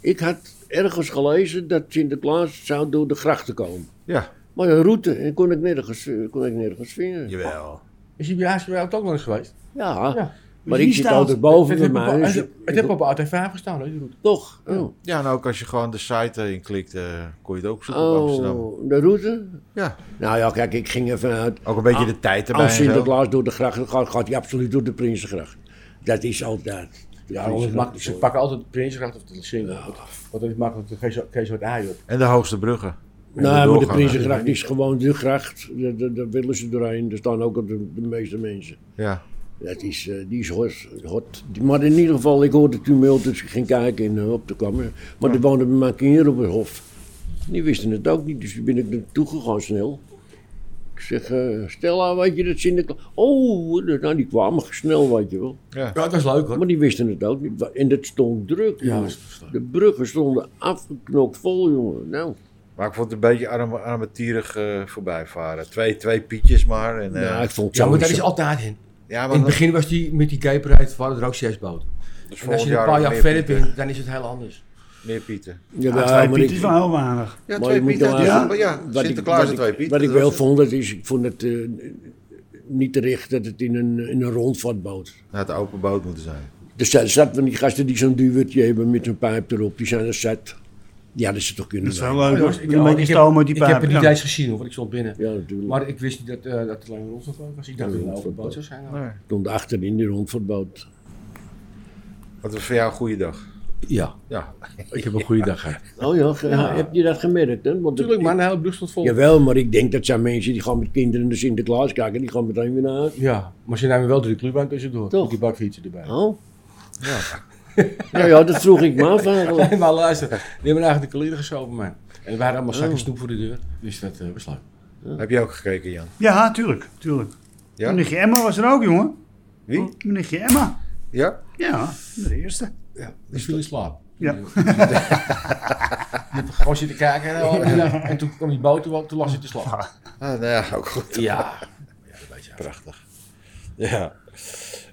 Speaker 1: Ik had ergens gelezen dat Sinterklaas zou door de grachten komen.
Speaker 2: Ja.
Speaker 1: Maar een route en kon ik nergens, eh, kon ik nergens vinden. Ja,
Speaker 2: Jawel.
Speaker 4: Is die bij Haas bij jou ook nog eens geweest? Ja.
Speaker 1: maar
Speaker 5: Dus
Speaker 1: ik
Speaker 5: die
Speaker 1: zit
Speaker 5: staat-
Speaker 1: altijd boven de
Speaker 4: heeft op-
Speaker 1: mij. dus
Speaker 4: het-
Speaker 1: ik-
Speaker 4: het heeft op AT5 gestaan, hè, die route.
Speaker 1: toch? Oh.
Speaker 2: Ja, en ook als je gewoon de site eh, in klikt, eh, kon je het ook zoeken op Amsterdam.
Speaker 1: oh, de route?
Speaker 2: Ja,
Speaker 1: Nou ja, kijk, ik ging ervan uit.
Speaker 2: ook een beetje
Speaker 1: Ah,
Speaker 2: de tijd erbij.
Speaker 1: Als
Speaker 2: en zo.
Speaker 1: Sinterklaas door de gracht gaat, gaat hij absoluut door de Prinsengracht. Dat is altijd. de
Speaker 4: Ja,
Speaker 1: Prinsengracht.
Speaker 4: want het maakt- ze pakken altijd Prinsengracht of de Singel. Want dat is makkelijk, dan geef je- geef je wat aai op.
Speaker 2: En de hoogste bruggen. En
Speaker 1: Nou, maar de
Speaker 2: doorgangen.
Speaker 1: Prinsengracht is gewoon de gracht. Daar- Daar daar willen ze doorheen. Daar staan ook de, de meeste mensen.
Speaker 2: Ja.
Speaker 1: Dat is, eh, die is hot, hot. Maar in ieder geval, ik hoorde tumult, dus ik ging kijken en eh, op te komen. Maar er woonde bij mijn kinderen op het hof. Die wisten het ook niet, dus toen ben ik naartoe gegaan snel. Ik zeg, eh stel aan, weet je dat Sinterklaas... Oh, nou, die kwamen snel, weet je wel.
Speaker 2: ja.
Speaker 4: Ja, dat is leuk hoor.
Speaker 1: Maar die wisten het ook niet. En dat stond druk,
Speaker 4: Ja,
Speaker 1: jongen.
Speaker 4: dat is leuk.
Speaker 1: De bruggen stonden afgeknokt vol, jongen. Nou,
Speaker 2: Maar ik vond het een beetje arm, armetierig eh voorbijvaren. Twee, twee pietjes maar. En, eh,
Speaker 1: nou, ik vond het
Speaker 4: Ja, maar daar
Speaker 1: sowieso-
Speaker 4: is altijd in.
Speaker 2: ja,
Speaker 4: In het begin was die met die gay parade, waren er ook zes boten.
Speaker 2: dus
Speaker 4: En als
Speaker 2: volgend
Speaker 4: je een paar
Speaker 2: ook
Speaker 4: jaar
Speaker 2: meer eh,
Speaker 4: verder
Speaker 2: pieten.
Speaker 4: bent, dan is het heel anders.
Speaker 2: Meer pieten.
Speaker 1: Jawel,
Speaker 5: Ja, twee
Speaker 1: maar
Speaker 5: pieten
Speaker 1: ik-
Speaker 5: is wel heel weinig.
Speaker 2: Ja,
Speaker 1: Maar
Speaker 2: twee
Speaker 1: je moet
Speaker 2: pieten.
Speaker 1: dan-
Speaker 2: uit de-
Speaker 5: Ja.
Speaker 2: Ja,
Speaker 1: Wat ik-
Speaker 2: Sinterklaas
Speaker 1: wat
Speaker 2: en
Speaker 1: ik-
Speaker 2: twee pieten.
Speaker 1: Wat ik
Speaker 2: dat
Speaker 1: wel
Speaker 2: is-
Speaker 1: vond, dat is, ik vond het eh, niet terecht dat het in een, in een rondvatboot.
Speaker 2: Nou, het open boot moeten zijn.
Speaker 1: Er za- zaten van die gasten die zo'n duwertje hebben met zo'n pijp erop, die zijn er zat. Die hadden ze toch kunnen
Speaker 5: Dat is wel
Speaker 1: doen.
Speaker 5: leuk.
Speaker 4: Jongens,
Speaker 5: hoor.
Speaker 4: ik-
Speaker 5: Een beetje
Speaker 4: ik heb-
Speaker 5: stoom met die
Speaker 4: Ik heb het niet
Speaker 5: pijpen.
Speaker 4: eens gezien hoor, want ik stond binnen.
Speaker 1: Ja, natuurlijk.
Speaker 4: Maar ik wist niet dat, eh, dat het lang rondvervoer was. Ik dacht dat het een open boot zou zijn.
Speaker 2: Nee.
Speaker 1: Stond achterin die rondvatboot.
Speaker 2: Wat was voor jou een goede dag?
Speaker 4: Ja,
Speaker 2: Ja.
Speaker 4: ik heb een goede dag gehad.
Speaker 1: Oh ja, ge- heb je dat gemerkt? Hè? Want
Speaker 4: Natuurlijk,
Speaker 1: het-
Speaker 4: maar een hele brug stond vol.
Speaker 1: Jawel, maar ik denk dat zijn mensen die gaan met kinderen naar Sinterklaas kijken, die gaan meteen weer naar huis.
Speaker 4: Ja, maar ze namen wel drie kluwbaan tussendoor.
Speaker 1: Toch?
Speaker 4: Met Die bakfietsen erbij.
Speaker 1: Oh? Ja. nou ja, dat vroeg ik me af eigenlijk.
Speaker 4: Nee, maar luister, die hebben eigenlijk de kleren geschoven, man. En er waren allemaal zakken snoep voor de deur. Dus dat eh, was leuk.
Speaker 2: Heb je ook gekeken, Jan?
Speaker 5: Ja, tuurlijk. tuurlijk.
Speaker 2: Ja?
Speaker 5: Meneertje Emma was er ook, jongen.
Speaker 2: Wie?
Speaker 5: Meneertje Emma.
Speaker 2: Ja?
Speaker 5: Ja, de eerste.
Speaker 4: Die viel in slaap.
Speaker 5: Ja.
Speaker 4: Die heb gewoon zitten kijken en, al, en, eh, en toen kwam die boot erop, toen lag ze te slapen.
Speaker 2: Ah, nou ja, ook goed.
Speaker 4: Ja. Ja, een beetje.
Speaker 2: Prachtig. Ja.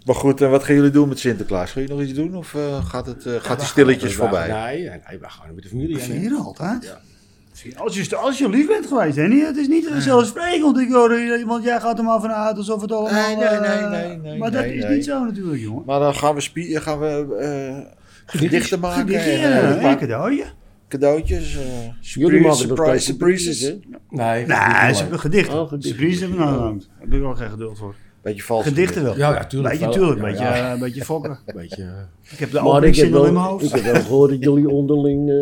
Speaker 2: Maar goed, en wat gaan jullie doen met Sinterklaas? Gaan jullie nog iets doen of eh, gaat, het, eh, gaat hij stilletjes
Speaker 4: We waren-
Speaker 2: voorbij?
Speaker 4: Nee, nee, nee, we gaan met de familie. hè.
Speaker 5: Vieren altijd. Als je, als je lief bent geweest, hè? niet- Het is niet vanzelfsprekend, ik hoor, eh, want jij gaat er maar vanuit alsof het allemaal...
Speaker 2: Nee, nee, nee,
Speaker 5: eh,
Speaker 2: nee, nee,
Speaker 5: Maar dat
Speaker 2: nee,
Speaker 5: is
Speaker 2: nee.
Speaker 5: niet zo natuurlijk, jongen.
Speaker 2: Maar dan gaan we, spie- gaan we eh, gedichten maken
Speaker 5: Gedichtje,
Speaker 2: en eh, we
Speaker 5: eh, een
Speaker 2: maken
Speaker 5: cadeautje.
Speaker 2: cadeautjes. eh,
Speaker 1: Jullie
Speaker 2: surprise,
Speaker 1: maken nog
Speaker 2: surprise,
Speaker 1: steeds
Speaker 2: surprises.
Speaker 1: surprises, hè?
Speaker 4: Nee, dat is niet
Speaker 5: Nee, ze
Speaker 4: mooi.
Speaker 5: hebben gedichten.
Speaker 1: Oh, gedichten.
Speaker 5: Surprise hebben we nou lang. Daar heb ik wel geen geduld voor.
Speaker 2: Beetje vals.
Speaker 5: Gedichten wel.
Speaker 4: Ja, ja, tuurlijk.
Speaker 5: beetje
Speaker 4: wel.
Speaker 5: tuurlijk,
Speaker 4: Ja,
Speaker 5: beetje,
Speaker 4: ja,
Speaker 5: eh, beetje fokken.
Speaker 4: beetje, eh,
Speaker 5: Ik heb de
Speaker 1: Maar ik heb,
Speaker 5: openingszin al in mijn
Speaker 1: wel, ik
Speaker 5: hoofd.
Speaker 1: heb wel gehoord dat jullie onderling eh,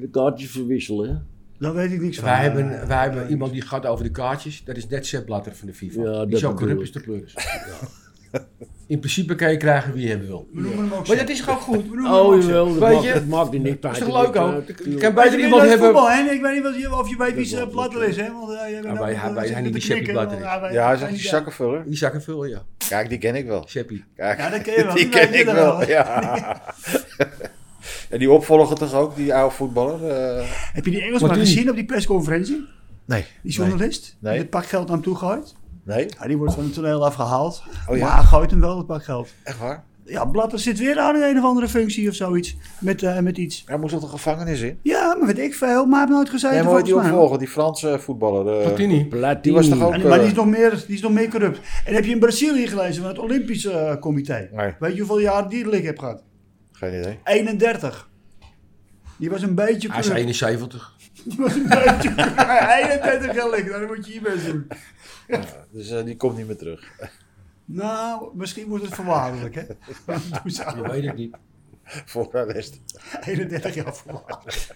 Speaker 1: de kaartjes verwisselen. hè?
Speaker 5: Daar weet ik niks van. eh,
Speaker 4: wij, hebben, wij hebben iemand die gaat over de kaartjes. Dat is net Sepp Blatter van de FIFA.
Speaker 1: Ja,
Speaker 4: die
Speaker 1: dat
Speaker 4: zo corrupt
Speaker 1: bedoel
Speaker 4: is de pleurs. In principe kan je krijgen wie je hebben wil.
Speaker 5: We noemen hem ook
Speaker 4: Maar dat is gewoon goed.
Speaker 1: Oh jawel, dat
Speaker 4: Weet
Speaker 1: maakt,
Speaker 4: je?
Speaker 1: dat maakt er niet
Speaker 4: Is
Speaker 1: uit.
Speaker 4: toch leuk ook? Je kan
Speaker 5: Weet
Speaker 4: beter
Speaker 5: je
Speaker 4: iemand hebben.
Speaker 5: Voetbal, hè? Ik weet niet wat je, of je weet wie
Speaker 1: Dat
Speaker 5: ze
Speaker 1: wel,
Speaker 5: platter
Speaker 1: dat
Speaker 5: is, hè? Want, eh, jij bent
Speaker 4: Ja, wij-
Speaker 5: ook,
Speaker 4: wij
Speaker 5: eh,
Speaker 4: zijn niet
Speaker 5: zitten te
Speaker 4: die Seppie
Speaker 5: knikken,
Speaker 4: Blatter
Speaker 5: want,
Speaker 2: Ja, hij
Speaker 5: wij-
Speaker 2: is echt die
Speaker 5: wij-
Speaker 2: zakkenvuller.
Speaker 4: Die zakken veel, ja.
Speaker 2: Kijk, die ken ik wel.
Speaker 4: Seppie.
Speaker 2: Kijk,
Speaker 5: Ja, dat ken je wel.
Speaker 2: die
Speaker 5: Die
Speaker 2: ken
Speaker 5: weet je
Speaker 2: ik
Speaker 5: dan
Speaker 2: wel,
Speaker 5: wel.
Speaker 2: ja. en die opvolger toch ook, die oude voetballer? eh?
Speaker 5: Heb je die Engelsman
Speaker 4: Martini.
Speaker 5: gezien op die persconferentie?
Speaker 2: nee.
Speaker 5: Die journalist?
Speaker 2: Nee.
Speaker 5: Die het pakgeld aan hem toe gooit?
Speaker 2: Nee?
Speaker 5: Ja, die wordt van het toneel afgehaald.
Speaker 2: Oh ja.
Speaker 5: Maar hij gooit hem wel het pakgeld.
Speaker 2: Echt waar?
Speaker 5: Ja, Blatter zit weer aan in een of andere functie of zoiets. Met, eh, met iets.
Speaker 2: Hij moest toch de gevangenis in?
Speaker 5: Ja, maar weet ik veel. Maar hij heeft nooit gezegd.
Speaker 2: Nee, maar hoe heet
Speaker 5: volgens
Speaker 2: die
Speaker 5: mij.
Speaker 2: opvolger, die Franse voetballer. eh,
Speaker 4: Platini.
Speaker 1: Platini.
Speaker 2: Die was toch ook-
Speaker 5: En- maar die is, nog meer, die is nog meer corrupt. En heb je in Brazilië gelezen van het Olympisch eh, Comité?
Speaker 2: Nee.
Speaker 5: Weet je hoeveel jaar die lig heb gehad?
Speaker 2: Geen idee.
Speaker 5: 31. Die was een beetje
Speaker 4: Hij is
Speaker 5: corrupt.
Speaker 4: 71.
Speaker 5: Die was een beetje corrupt. 31 jaar lig, daar moet je hier best doen.
Speaker 2: Dus eh, die komt niet meer terug.
Speaker 5: Nou, misschien wordt het voorwaardelijk, hè? Want Toen ze
Speaker 4: Je
Speaker 5: al
Speaker 4: weet het niet.
Speaker 2: Voor arrest.
Speaker 5: 31 jaar voorwaardelijk.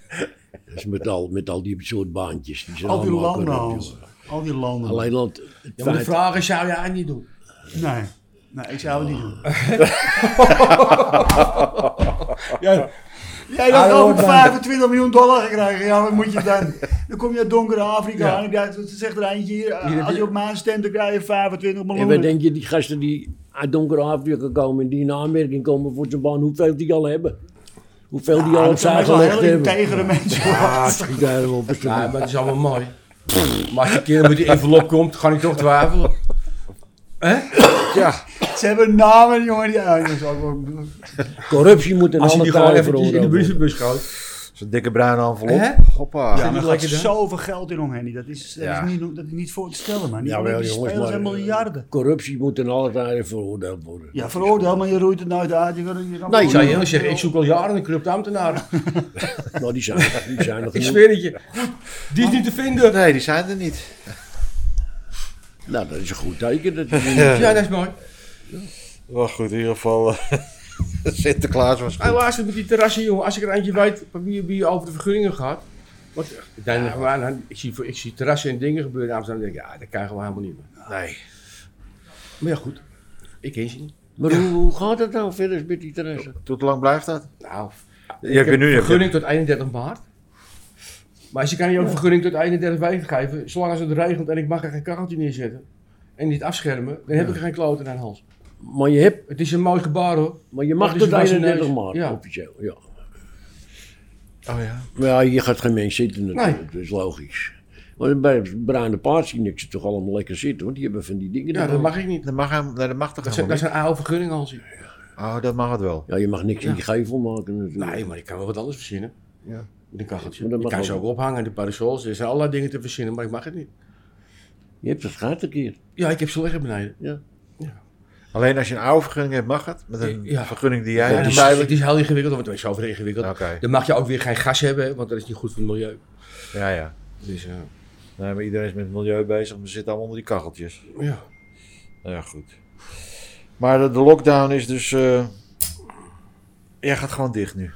Speaker 1: Dat is met al, met al die soort baantjes. Die zijn
Speaker 5: Al die
Speaker 1: allemaal
Speaker 5: landen,
Speaker 1: corrupt,
Speaker 5: Hans.
Speaker 1: jongen.
Speaker 5: Al die landen.
Speaker 1: Alleen dat. het
Speaker 4: Ja, maar de
Speaker 1: feit-
Speaker 4: vraag is, zou jij niet doen?
Speaker 5: Nee. Nee, ik zou het niet doen.
Speaker 4: Ja,
Speaker 5: Jij
Speaker 4: Ah,
Speaker 5: had
Speaker 4: dat
Speaker 5: over
Speaker 4: hoort bij.
Speaker 5: 25 miljoen dollar gekregen. Ja, wat moet je dan? Dan kom je uit donkere Afrika
Speaker 4: Ja.
Speaker 5: en ik dacht, ze zegt er eentje hier. eh,
Speaker 4: Hier heb
Speaker 5: als je
Speaker 4: je-
Speaker 5: op maan stemt, dan krijg je 25
Speaker 1: En wat
Speaker 5: miljoen.
Speaker 1: denk je, die gasten die uit donkere Afrika komen en die in aanmerking komen voor zijn baan, hoeveel die al hebben? Hoeveel die al
Speaker 5: Ja,
Speaker 1: op
Speaker 5: Ah, dat zijn
Speaker 1: zijn
Speaker 5: echt wel
Speaker 1: gelegd
Speaker 5: heel
Speaker 1: hebben?
Speaker 5: integere mensen.
Speaker 1: Ah, schiet daar helemaal op.
Speaker 4: maar het is allemaal mooi. Maar als je keer met die envelop komt, ga ik toch twijfelen.
Speaker 2: Ja.
Speaker 5: Ze hebben namen, jongen. Die, ja, dat is ook wel-
Speaker 1: Corruptie moet in
Speaker 4: Als je
Speaker 1: alle
Speaker 4: die gewoon
Speaker 1: tijden veroordeeld
Speaker 4: eventjes in de
Speaker 1: worden.
Speaker 4: brievenbus gooit.
Speaker 2: Zo'n dikke bruine envelop.
Speaker 3: Hè?
Speaker 2: Hoppa.
Speaker 5: Ja,
Speaker 3: Zit
Speaker 5: maar
Speaker 3: het
Speaker 5: er gaat
Speaker 3: lekker dan?
Speaker 5: zoveel geld in omheen. Dat is, dat
Speaker 2: Ja.
Speaker 5: is, niet, dat is niet voor te stellen, man. Die,
Speaker 1: Ja,
Speaker 5: die
Speaker 1: wel jongens,
Speaker 5: spelers
Speaker 1: maar eh,
Speaker 5: zijn miljarden.
Speaker 1: corruptie moet in alle tijden veroordeeld worden.
Speaker 5: Ja, veroordeel, maar je roeit het nooit uit. Je kan, je
Speaker 4: Nee,
Speaker 5: kan
Speaker 4: Nou, ik zou je
Speaker 5: veroordelen.
Speaker 4: eerlijk zeggen, ik zoek al jaren een corrupte ambtenaar.
Speaker 1: Nou, die zijn, die zijn nog
Speaker 4: Ik
Speaker 1: niet.
Speaker 4: zweer het je. Die is niet te vinden.
Speaker 2: Nee, die zijn er niet.
Speaker 1: Nou, dat is een goed teken. Dat die-
Speaker 4: Ja, dat is mooi.
Speaker 2: Maar goed, in ieder geval eh, Sinterklaas was
Speaker 4: Hij
Speaker 2: goed.
Speaker 4: laatst met die terrassen, jongen. Als ik er eentje weet wie, wie over de vergunningen gaat. Want ik, denk gewoon aan- ik, zie, ik zie terrassen en dingen gebeuren in Amsterdam. en denk ik, ja, dat kan gewoon helemaal niet meer.
Speaker 2: Nee.
Speaker 4: Maar ja, goed. Ik ken ze niet.
Speaker 1: Maar hoe, hoe gaat het nou verder met die terrassen?
Speaker 2: Tot lang blijft dat?
Speaker 4: Nou,
Speaker 2: Je hebt je nu- je hebt-
Speaker 4: vergunning tot 31 maart. Maar ze kan je ook vergunning tot 31 weken geven. Zolang als het regent en ik mag er geen kacheltje neerzetten. En niet afschermen, dan heb ik er geen kloten aan de hals.
Speaker 1: Maar je, hebt,
Speaker 4: Het is een mooi gebaar hoor.
Speaker 1: maar je mag
Speaker 4: Dat is
Speaker 1: tot
Speaker 4: een wijze
Speaker 1: 31
Speaker 4: neus.
Speaker 1: maart,
Speaker 4: Ja.
Speaker 1: officieel. Ja.
Speaker 2: Oh ja.
Speaker 1: Maar ja, je gaat geen mens zitten natuurlijk, dat is logisch. Maar bij het bruine paard zie ik ze toch allemaal lekker zitten, want die hebben van die dingen.
Speaker 4: Ja, dat
Speaker 1: erbij.
Speaker 4: mag ik niet.
Speaker 2: Dat mag, hem, nee, dat mag toch
Speaker 4: Dat zijn,
Speaker 2: helemaal
Speaker 4: dat zijn AO-vergunningen, Hansie.
Speaker 2: niet? Oh, dat mag het wel.
Speaker 1: Ja, je mag niks in die gevel maken natuurlijk.
Speaker 4: Nee, maar ik kan wel wat anders verzinnen.
Speaker 2: Ja.
Speaker 4: Met een kacheltje.
Speaker 1: Maar dat
Speaker 4: Ik
Speaker 1: mag
Speaker 4: kan ze
Speaker 1: ook.
Speaker 4: ook ophangen, de parasols. Er zijn allerlei dingen te verzinnen, maar ik mag het niet.
Speaker 1: Je hebt het gehad een keer.
Speaker 4: Ja, ik heb ze liggen beneden.
Speaker 2: Alleen als je een oude vergunning hebt, mag het. Met een
Speaker 4: Ja.
Speaker 2: vergunning die
Speaker 4: Ja,
Speaker 2: jij
Speaker 4: het,
Speaker 2: hebt.
Speaker 4: is, het is heel ingewikkeld, want het is over ingewikkeld.
Speaker 2: Oké.
Speaker 4: Dan mag je ook weer geen gas hebben, hè, want dat is niet goed voor het milieu.
Speaker 2: Ja, ja.
Speaker 4: Dus eh,
Speaker 2: Nee, maar iedereen is met het milieu bezig. We zitten allemaal onder die kacheltjes.
Speaker 4: ja.
Speaker 2: Nou ja, goed. Maar de, de lockdown is dus... eh, Jij gaat gewoon dicht nu.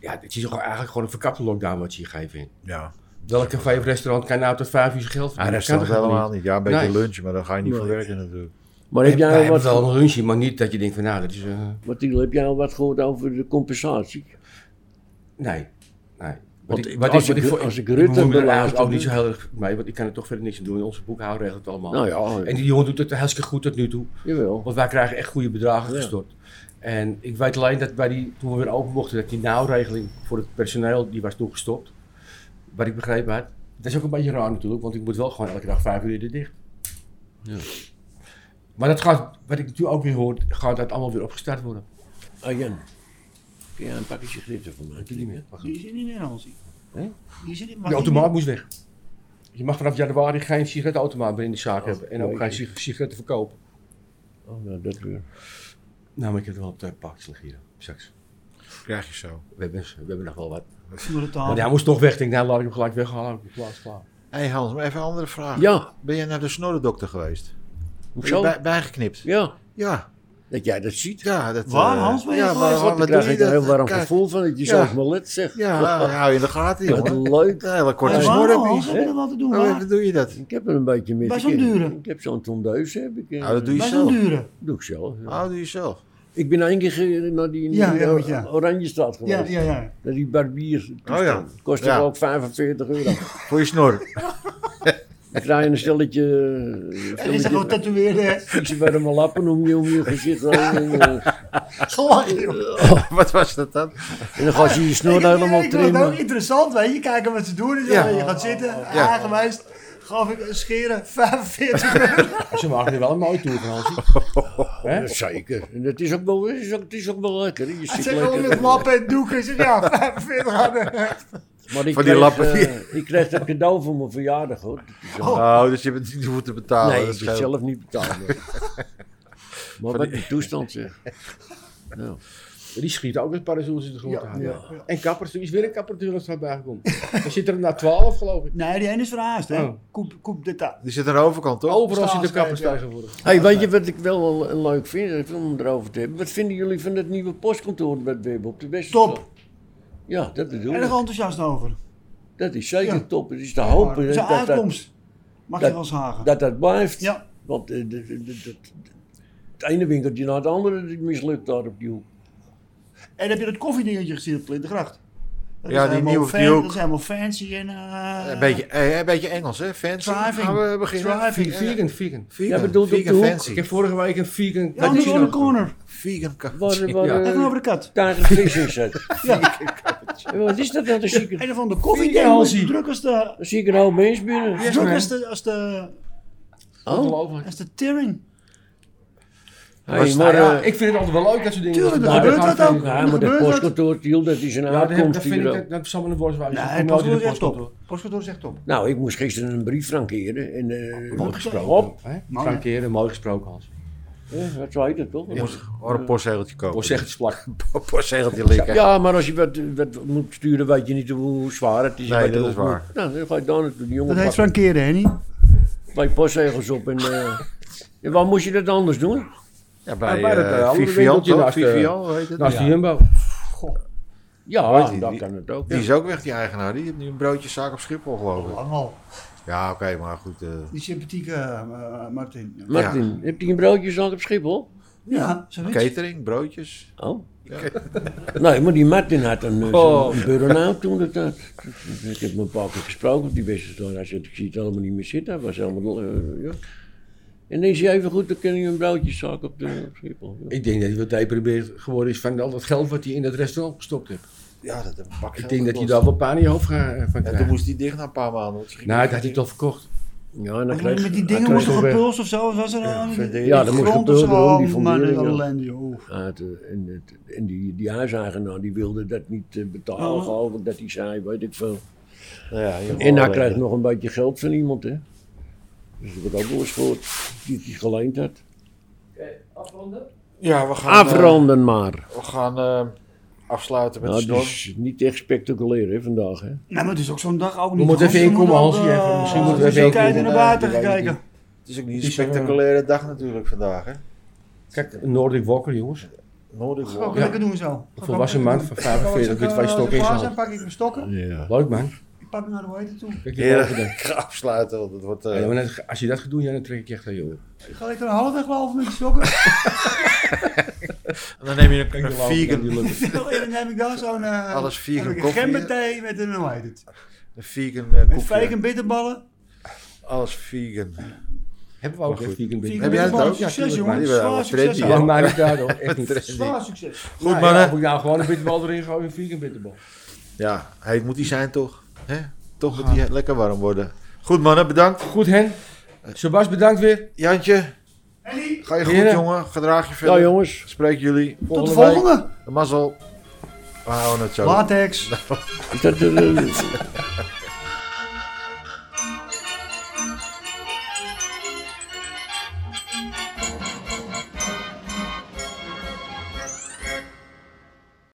Speaker 4: ja, het is toch eigenlijk gewoon een verkapte lockdown wat ze hier geven. in.
Speaker 2: Ja.
Speaker 4: Welk café of restaurant kan nou tot vijf uur zijn geld
Speaker 2: Hij
Speaker 4: verdienen?
Speaker 2: rest Ah, dat
Speaker 4: toch helemaal
Speaker 2: helemaal niet. Ja, een beetje
Speaker 4: Nee.
Speaker 2: lunchen, maar dan ga je niet
Speaker 1: Nee.
Speaker 2: voor werken natuurlijk.
Speaker 1: Maar
Speaker 4: niet?
Speaker 1: heb
Speaker 4: Heb jij
Speaker 1: jij, al
Speaker 4: hebt
Speaker 1: wat,
Speaker 4: wel een lunchje, maar niet dat je denkt van nou, dat is... eh,
Speaker 1: wat, Tiel, heb jij al wat gehoord over de compensatie?
Speaker 4: nee, nee.
Speaker 1: Want
Speaker 4: ik-
Speaker 1: als
Speaker 4: ik
Speaker 1: ik-
Speaker 4: voor-
Speaker 1: als ik
Speaker 4: ik
Speaker 1: Rutte
Speaker 4: bemoei me er
Speaker 1: beluister-
Speaker 4: eigenlijk ook niet zo heel erg mee, want ik kan er toch verder niks aan doen. Onze boekhouder regelt het
Speaker 2: Oh.
Speaker 4: allemaal.
Speaker 1: Nou ja,
Speaker 4: En die jongen doet het hartstikke goed tot nu toe.
Speaker 1: jawel.
Speaker 4: Want wij krijgen echt goede bedragen
Speaker 1: Ja.
Speaker 4: gestort. En ik weet alleen dat bij die, toen we weer open mochten, dat die nauwregeling voor het personeel, die was toen gestopt. Wat ik begrepen had. Dat is ook een beetje raar natuurlijk, want ik moet wel gewoon elke dag vijf uur er dicht. Maar dat gaat, wat ik natuurlijk ook weer hoor, gaat dat allemaal weer opgestart worden.
Speaker 1: Ah, Jan, kun jij een pakketje gritten voor mij?
Speaker 4: Die meer.
Speaker 5: Die zit niet meer, Hansie.
Speaker 1: Hè?
Speaker 5: Die zit niet mag
Speaker 4: De
Speaker 5: niet
Speaker 4: automaat
Speaker 5: meer.
Speaker 4: moest weg. Je mag vanaf januari geen sigarettenautomaat meer in de zaak hebben en ook
Speaker 1: jeetje.
Speaker 4: geen sig- sigaretten verkopen.
Speaker 1: Oh, nou, dat weer.
Speaker 4: Nou, maar ik heb er wel op de pakjes liggen hier, straks.
Speaker 2: Krijg je zo.
Speaker 4: We hebben, we hebben nog wel wat.
Speaker 5: Onder de tafel.
Speaker 4: Maar hij moest toch weg. Ik denk, nou laat ik hem gelijk weghalen. Ik plaats klaar.
Speaker 2: Hé hey Hans, maar even een andere vraag.
Speaker 1: Ja,
Speaker 2: Ben jij naar de snorredokter geweest? Ben Ah. je
Speaker 1: hoezo?
Speaker 2: bij- bijgeknipt?
Speaker 1: Ja,
Speaker 2: Ja.
Speaker 1: dat jij dat ziet.
Speaker 2: Ja, dat...
Speaker 5: Waar,
Speaker 2: eh,
Speaker 5: Hans, ben je
Speaker 2: ja,
Speaker 5: geweest?
Speaker 2: waar, waar,
Speaker 1: God, daar
Speaker 2: waar doe
Speaker 1: krijg
Speaker 2: je
Speaker 1: ik een
Speaker 2: dat?
Speaker 1: heel warm
Speaker 2: Kijk,
Speaker 1: gevoel van dat je
Speaker 2: Ja.
Speaker 1: zelfs maar let zegt.
Speaker 2: Ja, hou je in de gaten,
Speaker 1: Wat
Speaker 2: jongen.
Speaker 1: leuk.
Speaker 2: Een hele korte
Speaker 5: Hey,
Speaker 2: snor
Speaker 5: waarom,
Speaker 2: heb
Speaker 5: Hans?
Speaker 2: je.
Speaker 5: Heb je er wat te doen?
Speaker 2: Hoe
Speaker 5: Waar-
Speaker 2: even doe je dat?
Speaker 1: Ik heb er een beetje mee
Speaker 5: Bij
Speaker 1: te
Speaker 5: zo'n
Speaker 1: keren.
Speaker 5: dure?
Speaker 1: Ik heb zo'n tondeus, heb ik. eh,
Speaker 2: Nou, dat doe je
Speaker 5: Bij zo'n
Speaker 2: zelf.
Speaker 5: dure.
Speaker 1: doe ik zelf. ja.
Speaker 2: Nou, doe je zelf.
Speaker 1: Ik ben één keer ge- naar die,
Speaker 5: Ja,
Speaker 1: die,
Speaker 5: ja,
Speaker 1: eh,
Speaker 5: want ja.
Speaker 1: Oranjestaat geweest.
Speaker 5: Ja, ja, ja.
Speaker 1: Naar die barbier.
Speaker 2: Oh ja.
Speaker 1: Kostte
Speaker 2: Ja.
Speaker 1: ook 45 euro.
Speaker 2: Voor je snor.
Speaker 1: Dan krijg je een stelletje...
Speaker 5: Er is er gewoon
Speaker 1: stelletje
Speaker 5: tatoeëren. hè?
Speaker 1: mensen bij de lappen om je, om je gezicht. heen En, eh,
Speaker 5: Gelachen, joh.
Speaker 2: Wat was dat dan?
Speaker 1: en dan gaat ze je snor helemaal
Speaker 5: ik vond het ook
Speaker 1: trimmen.
Speaker 5: interessant, weet je. Kijken wat ze doen. en zo.
Speaker 2: Ja.
Speaker 5: Je gaat zitten, aangewijs. Gaf ik een scheren 45
Speaker 4: Ze maken er wel een mooie tour van Hansie.
Speaker 1: Ja, Zeker. En het is ook wel, het is ook, het is ook wel lekker. hè. Je
Speaker 5: Hij
Speaker 1: zit
Speaker 5: zegt wel
Speaker 1: lekker.
Speaker 5: met lappen en doeken. Ik zeg, ja, 45 aan de-
Speaker 1: Maar ik
Speaker 2: Van die
Speaker 1: kreeg,
Speaker 2: lappen.
Speaker 1: eh, ik kreeg dat cadeau voor mijn verjaardag hoor. Dat is wel-
Speaker 2: Oh, dus je hebt het niet hoeven te betalen.
Speaker 1: nee,
Speaker 2: dat
Speaker 1: ik heb
Speaker 2: scheelt.
Speaker 1: het zelf niet betaald. nee. maar wat die toestand zeg. Nou,
Speaker 4: Die schiet ook met parasols in de grond. aan.
Speaker 5: ja, ja.
Speaker 4: En kappers, er is weer een kapper die er bij gekomen. Dan zit er na 12 geloof ik.
Speaker 5: Nee, die ene is verhaast, hè.
Speaker 4: Oh.
Speaker 5: Koep, koep dit aan.
Speaker 2: Die zit aan de overkant, toch?
Speaker 4: Overal
Speaker 5: Staan
Speaker 4: zitten kappers
Speaker 5: schrijven, ja.
Speaker 4: tegenwoordig.
Speaker 1: hey, weet je wat ik wel eh, leuk vind eh, om erover te hebben? Wat vinden jullie van het nieuwe postkantoor bij Web op de Westerstraat?
Speaker 5: Top.
Speaker 1: Ja, dat bedoel
Speaker 5: Erg
Speaker 1: ik.
Speaker 5: enthousiast over.
Speaker 1: Dat is zeker
Speaker 5: Ja.
Speaker 1: top. Het is te hopen
Speaker 5: Zijn
Speaker 1: dat, dat,
Speaker 5: aankomst. Mag
Speaker 1: dat-
Speaker 5: je wel zagen.
Speaker 1: dat dat blijft.
Speaker 5: Ja.
Speaker 1: Want eh, dat- dat- dat- dat- het ene winkeltje na het andere dat mislukt daar op die hoek.
Speaker 5: En heb je dat koffiedingetje gezien op Plintengracht? Dat
Speaker 2: Ja,
Speaker 5: is
Speaker 2: die
Speaker 5: helemaal
Speaker 2: nieuwe
Speaker 5: fan-
Speaker 2: die ook.
Speaker 5: Dat is helemaal fancy en... eh,
Speaker 2: Een beetje, eh, een beetje Engels, hè? Fancy.
Speaker 5: Driving.
Speaker 2: Gaan we beginnen?
Speaker 5: Driving.
Speaker 2: Eh,
Speaker 4: Vegan, vegan.
Speaker 2: Vegan,
Speaker 1: Ja, bedoel, op de
Speaker 2: vegan
Speaker 1: hoek.
Speaker 4: Ik
Speaker 2: fancy.
Speaker 4: heb vorige week een vegan
Speaker 5: Ja, die
Speaker 4: cappuccino
Speaker 5: on the
Speaker 4: gedronken.
Speaker 5: corner.
Speaker 2: Vegan
Speaker 1: Waar,
Speaker 2: cappuccino.
Speaker 1: waar,
Speaker 4: Ja.
Speaker 1: eh,
Speaker 5: Even over de kat.
Speaker 1: daar een vis in zit.
Speaker 5: Ja,
Speaker 1: Wat is dat nou? een zieke
Speaker 5: een van de
Speaker 4: Vind je, Hansie?
Speaker 5: koffiedingetje. Druk als de...
Speaker 1: Dan zie ik een hoop mensen binnen.
Speaker 5: Druk
Speaker 4: man.
Speaker 5: als de... Als de...
Speaker 1: Oh,
Speaker 4: Ongelooflijk.
Speaker 5: Als de tearing.
Speaker 1: Hey,
Speaker 4: Nou
Speaker 1: maar,
Speaker 4: ja,
Speaker 1: eh,
Speaker 4: ik vind het altijd wel leuk dat soort dingen. Nou,
Speaker 5: Tuurlijk,
Speaker 4: dat
Speaker 5: dat gebeurt
Speaker 4: dat
Speaker 5: dat ook.
Speaker 1: ja, maar
Speaker 5: gebeurt
Speaker 1: dat
Speaker 5: dat.
Speaker 1: postkantoor, Tiel, dat is een
Speaker 4: Ja, dat, dat
Speaker 1: aankomst
Speaker 4: vind
Speaker 1: hier wel.
Speaker 4: ik, dat, dat zal me een borst
Speaker 5: Nee,
Speaker 4: wijzen.
Speaker 5: het postkantoor is echt top. Het postkantoor is echt top.
Speaker 1: Nou, ik moest gisteren een brief frankeren en eh
Speaker 5: Mooi
Speaker 1: gesproken.
Speaker 5: gesproken.
Speaker 1: Op.
Speaker 5: Man,
Speaker 4: Frank Heren, mooi gesproken Hans.
Speaker 1: Ja, dat eh, zei je toch?
Speaker 2: Je moest gewoon Oh, een postzegeltje kopen.
Speaker 4: Hoor zeg het splak.
Speaker 2: Een postzegeltje likken.
Speaker 1: Ja, maar als je wat, wat moet sturen, weet je niet hoe zwaar het is.
Speaker 2: Nee,
Speaker 1: Weet je
Speaker 2: dat
Speaker 1: ook
Speaker 2: is waar.
Speaker 1: niet. Nou, dan ga je daar naartoe. Die jongen
Speaker 5: Dat
Speaker 1: pakt
Speaker 5: heet frankeren, hè niet?
Speaker 1: twee postzegels op en... eh, ja, waar moest je dat anders doen?
Speaker 2: Ja,
Speaker 4: Ja,
Speaker 2: bij,
Speaker 4: bij dat,
Speaker 2: eh,
Speaker 4: eh, andere
Speaker 2: Vivian,
Speaker 4: winkeltje
Speaker 2: toch?
Speaker 4: naast, eh,
Speaker 2: Vivian, hoe heet het?
Speaker 4: Naast
Speaker 2: Ja.
Speaker 4: de Jumbo.
Speaker 1: Ja,
Speaker 2: die-
Speaker 1: dat
Speaker 2: die-
Speaker 1: kan het ook.
Speaker 2: Die
Speaker 1: ja.
Speaker 2: is ook weg, die eigenaar. Die heeft nu een broodjeszaak op Schiphol, geloof ik.
Speaker 5: Lang al.
Speaker 2: Ja, oké, maar goed. eh,
Speaker 5: Die sympathieke eh, Martin.
Speaker 1: Martin, heb je een broodjeszaak op Schiphol?
Speaker 5: Ja, zoiets.
Speaker 2: catering, broodjes.
Speaker 1: Oh. Nee, maar die Martin had een, eh, zo'n- een burn-out toen dat had. Ik heb hem een paar keer gesproken op die beste Hij zei, ik zie het allemaal niet meer zitten. Hij was helemaal... eh, ja. En dan is hij even goed, dan kan je een broodjeszaak op, de, op Schiphol. ja.
Speaker 4: Ik denk dat hij wat deprimeerd geworden is van al dat geld wat hij in dat restaurant gestopt heeft.
Speaker 2: Ja, dat heb een pak
Speaker 4: Ik denk dat hij daar wel pijn in je hoofd gaat- eh, van
Speaker 2: En toen
Speaker 4: krijgt.
Speaker 2: moest hij dicht na een paar maanden. want ze gingen-
Speaker 4: Nou, dat had hij toch verkocht.
Speaker 1: Ja, en dan
Speaker 5: Maar
Speaker 1: kreeg
Speaker 5: Oh, Met die
Speaker 1: hij
Speaker 5: dingen
Speaker 1: kreeg
Speaker 5: moest toch
Speaker 1: ook, eh,
Speaker 5: gepulst of zo? Of was er dan?
Speaker 2: verdediging.
Speaker 1: Ja, dan moest
Speaker 5: grond of
Speaker 1: gepulst
Speaker 5: zo?
Speaker 1: worden, die
Speaker 5: Oh, man,
Speaker 1: fundering,
Speaker 5: wat
Speaker 1: ja.
Speaker 5: ellende, joh.
Speaker 1: had, eh, en, het- en die, die huiseigenaar die wilde dat niet eh, betalen,
Speaker 5: Oh.
Speaker 1: geloof ik, dat hij zei, weet ik veel.
Speaker 2: Nou ja, je-
Speaker 1: En hij krijgt nog een beetje geld van iemand, hè. Dus dat heb ik ook wel eens gehoord, die hij geleend had.
Speaker 2: Ja, we gaan, eh,
Speaker 1: Afronden maar.
Speaker 2: we gaan eh, afsluiten met
Speaker 1: Nou,
Speaker 2: de
Speaker 1: dat
Speaker 2: snor.
Speaker 1: is niet echt spectaculair, hè, vandaag, hè.
Speaker 5: Nou, maar het is ook zo'n dag ook niet.
Speaker 4: moeten even inkomen, Hansie, even. Misschien
Speaker 5: Misschien
Speaker 4: moeten we
Speaker 5: moeten we
Speaker 4: even
Speaker 5: kijken naar
Speaker 4: inkomen.
Speaker 5: buiten
Speaker 4: Eh,
Speaker 5: gaan
Speaker 4: die-
Speaker 5: kijken.
Speaker 2: Het is ook niet
Speaker 4: Die
Speaker 2: een
Speaker 4: is, eh,
Speaker 2: spectaculaire dag natuurlijk vandaag, hè?
Speaker 4: Kijk, een Nordic Walker, jongens.
Speaker 2: Nodig
Speaker 5: Ga ik
Speaker 2: wel.
Speaker 5: lekker doen zo. Eh,
Speaker 4: Een volwassen man van 45 met twee stokken in zijn
Speaker 5: Dan
Speaker 4: hand.
Speaker 5: pak ik mijn stokken.
Speaker 1: Ja.
Speaker 4: Leuk man.
Speaker 5: Ik pak hem naar de hoogte toe.
Speaker 4: Kijk, die
Speaker 2: Ja,
Speaker 4: mogen dan.
Speaker 2: ik ga afsluiten, want het wordt... eh,
Speaker 4: Ja, maar net- als je dat gaat doen, ja, dan trek ik je echt aan joh.
Speaker 5: Ik ga lekker een halfweg lopen met die stokken.
Speaker 2: en dan neem je een, een vegan,
Speaker 5: en dan heb ik daar zo'n... eh,
Speaker 2: Alles vegan
Speaker 5: heb ik Een
Speaker 2: koffie, hè?
Speaker 5: gemberthee met een, hoe heet het?
Speaker 2: een vegan eh,
Speaker 5: Met
Speaker 2: koekje.
Speaker 5: vegan bitterballen.
Speaker 2: Alles vegan.
Speaker 4: Hebben we ook
Speaker 2: Maar
Speaker 4: echt
Speaker 2: goed.
Speaker 4: vegan binnen.
Speaker 5: Vegan
Speaker 2: Heb jij dat
Speaker 5: bitterballen.
Speaker 2: ook? Ja,
Speaker 5: Succes,
Speaker 2: tuurlijk, maar
Speaker 5: jongen.
Speaker 2: die waren
Speaker 5: Zwaar
Speaker 2: wel
Speaker 5: succes.
Speaker 2: trendy,
Speaker 5: hoor.
Speaker 4: Ja, maar niet daar hoor. Echt niet.
Speaker 5: Zwaar succes.
Speaker 2: Goed,
Speaker 4: Nou ja,
Speaker 2: mannen.
Speaker 4: Of ik nou gewoon een bitterbal erin gooi, een vegan bitterbal.
Speaker 2: Ja, heet moet die zijn toch? Hè? Toch moet die lekker warm worden. Goed mannen, bedankt.
Speaker 4: Goed Hen. Sebas, bedankt weer.
Speaker 2: Jantje,
Speaker 5: Ellie,
Speaker 2: ga je goed
Speaker 4: Heren.
Speaker 2: jongen. Gedraag je verder.
Speaker 1: Nou, jongens.
Speaker 2: Spreek jullie volgende
Speaker 5: tot de volgende.
Speaker 2: week. Mazzel. We houden het zo.
Speaker 5: Latex.
Speaker 1: Is dat... eh,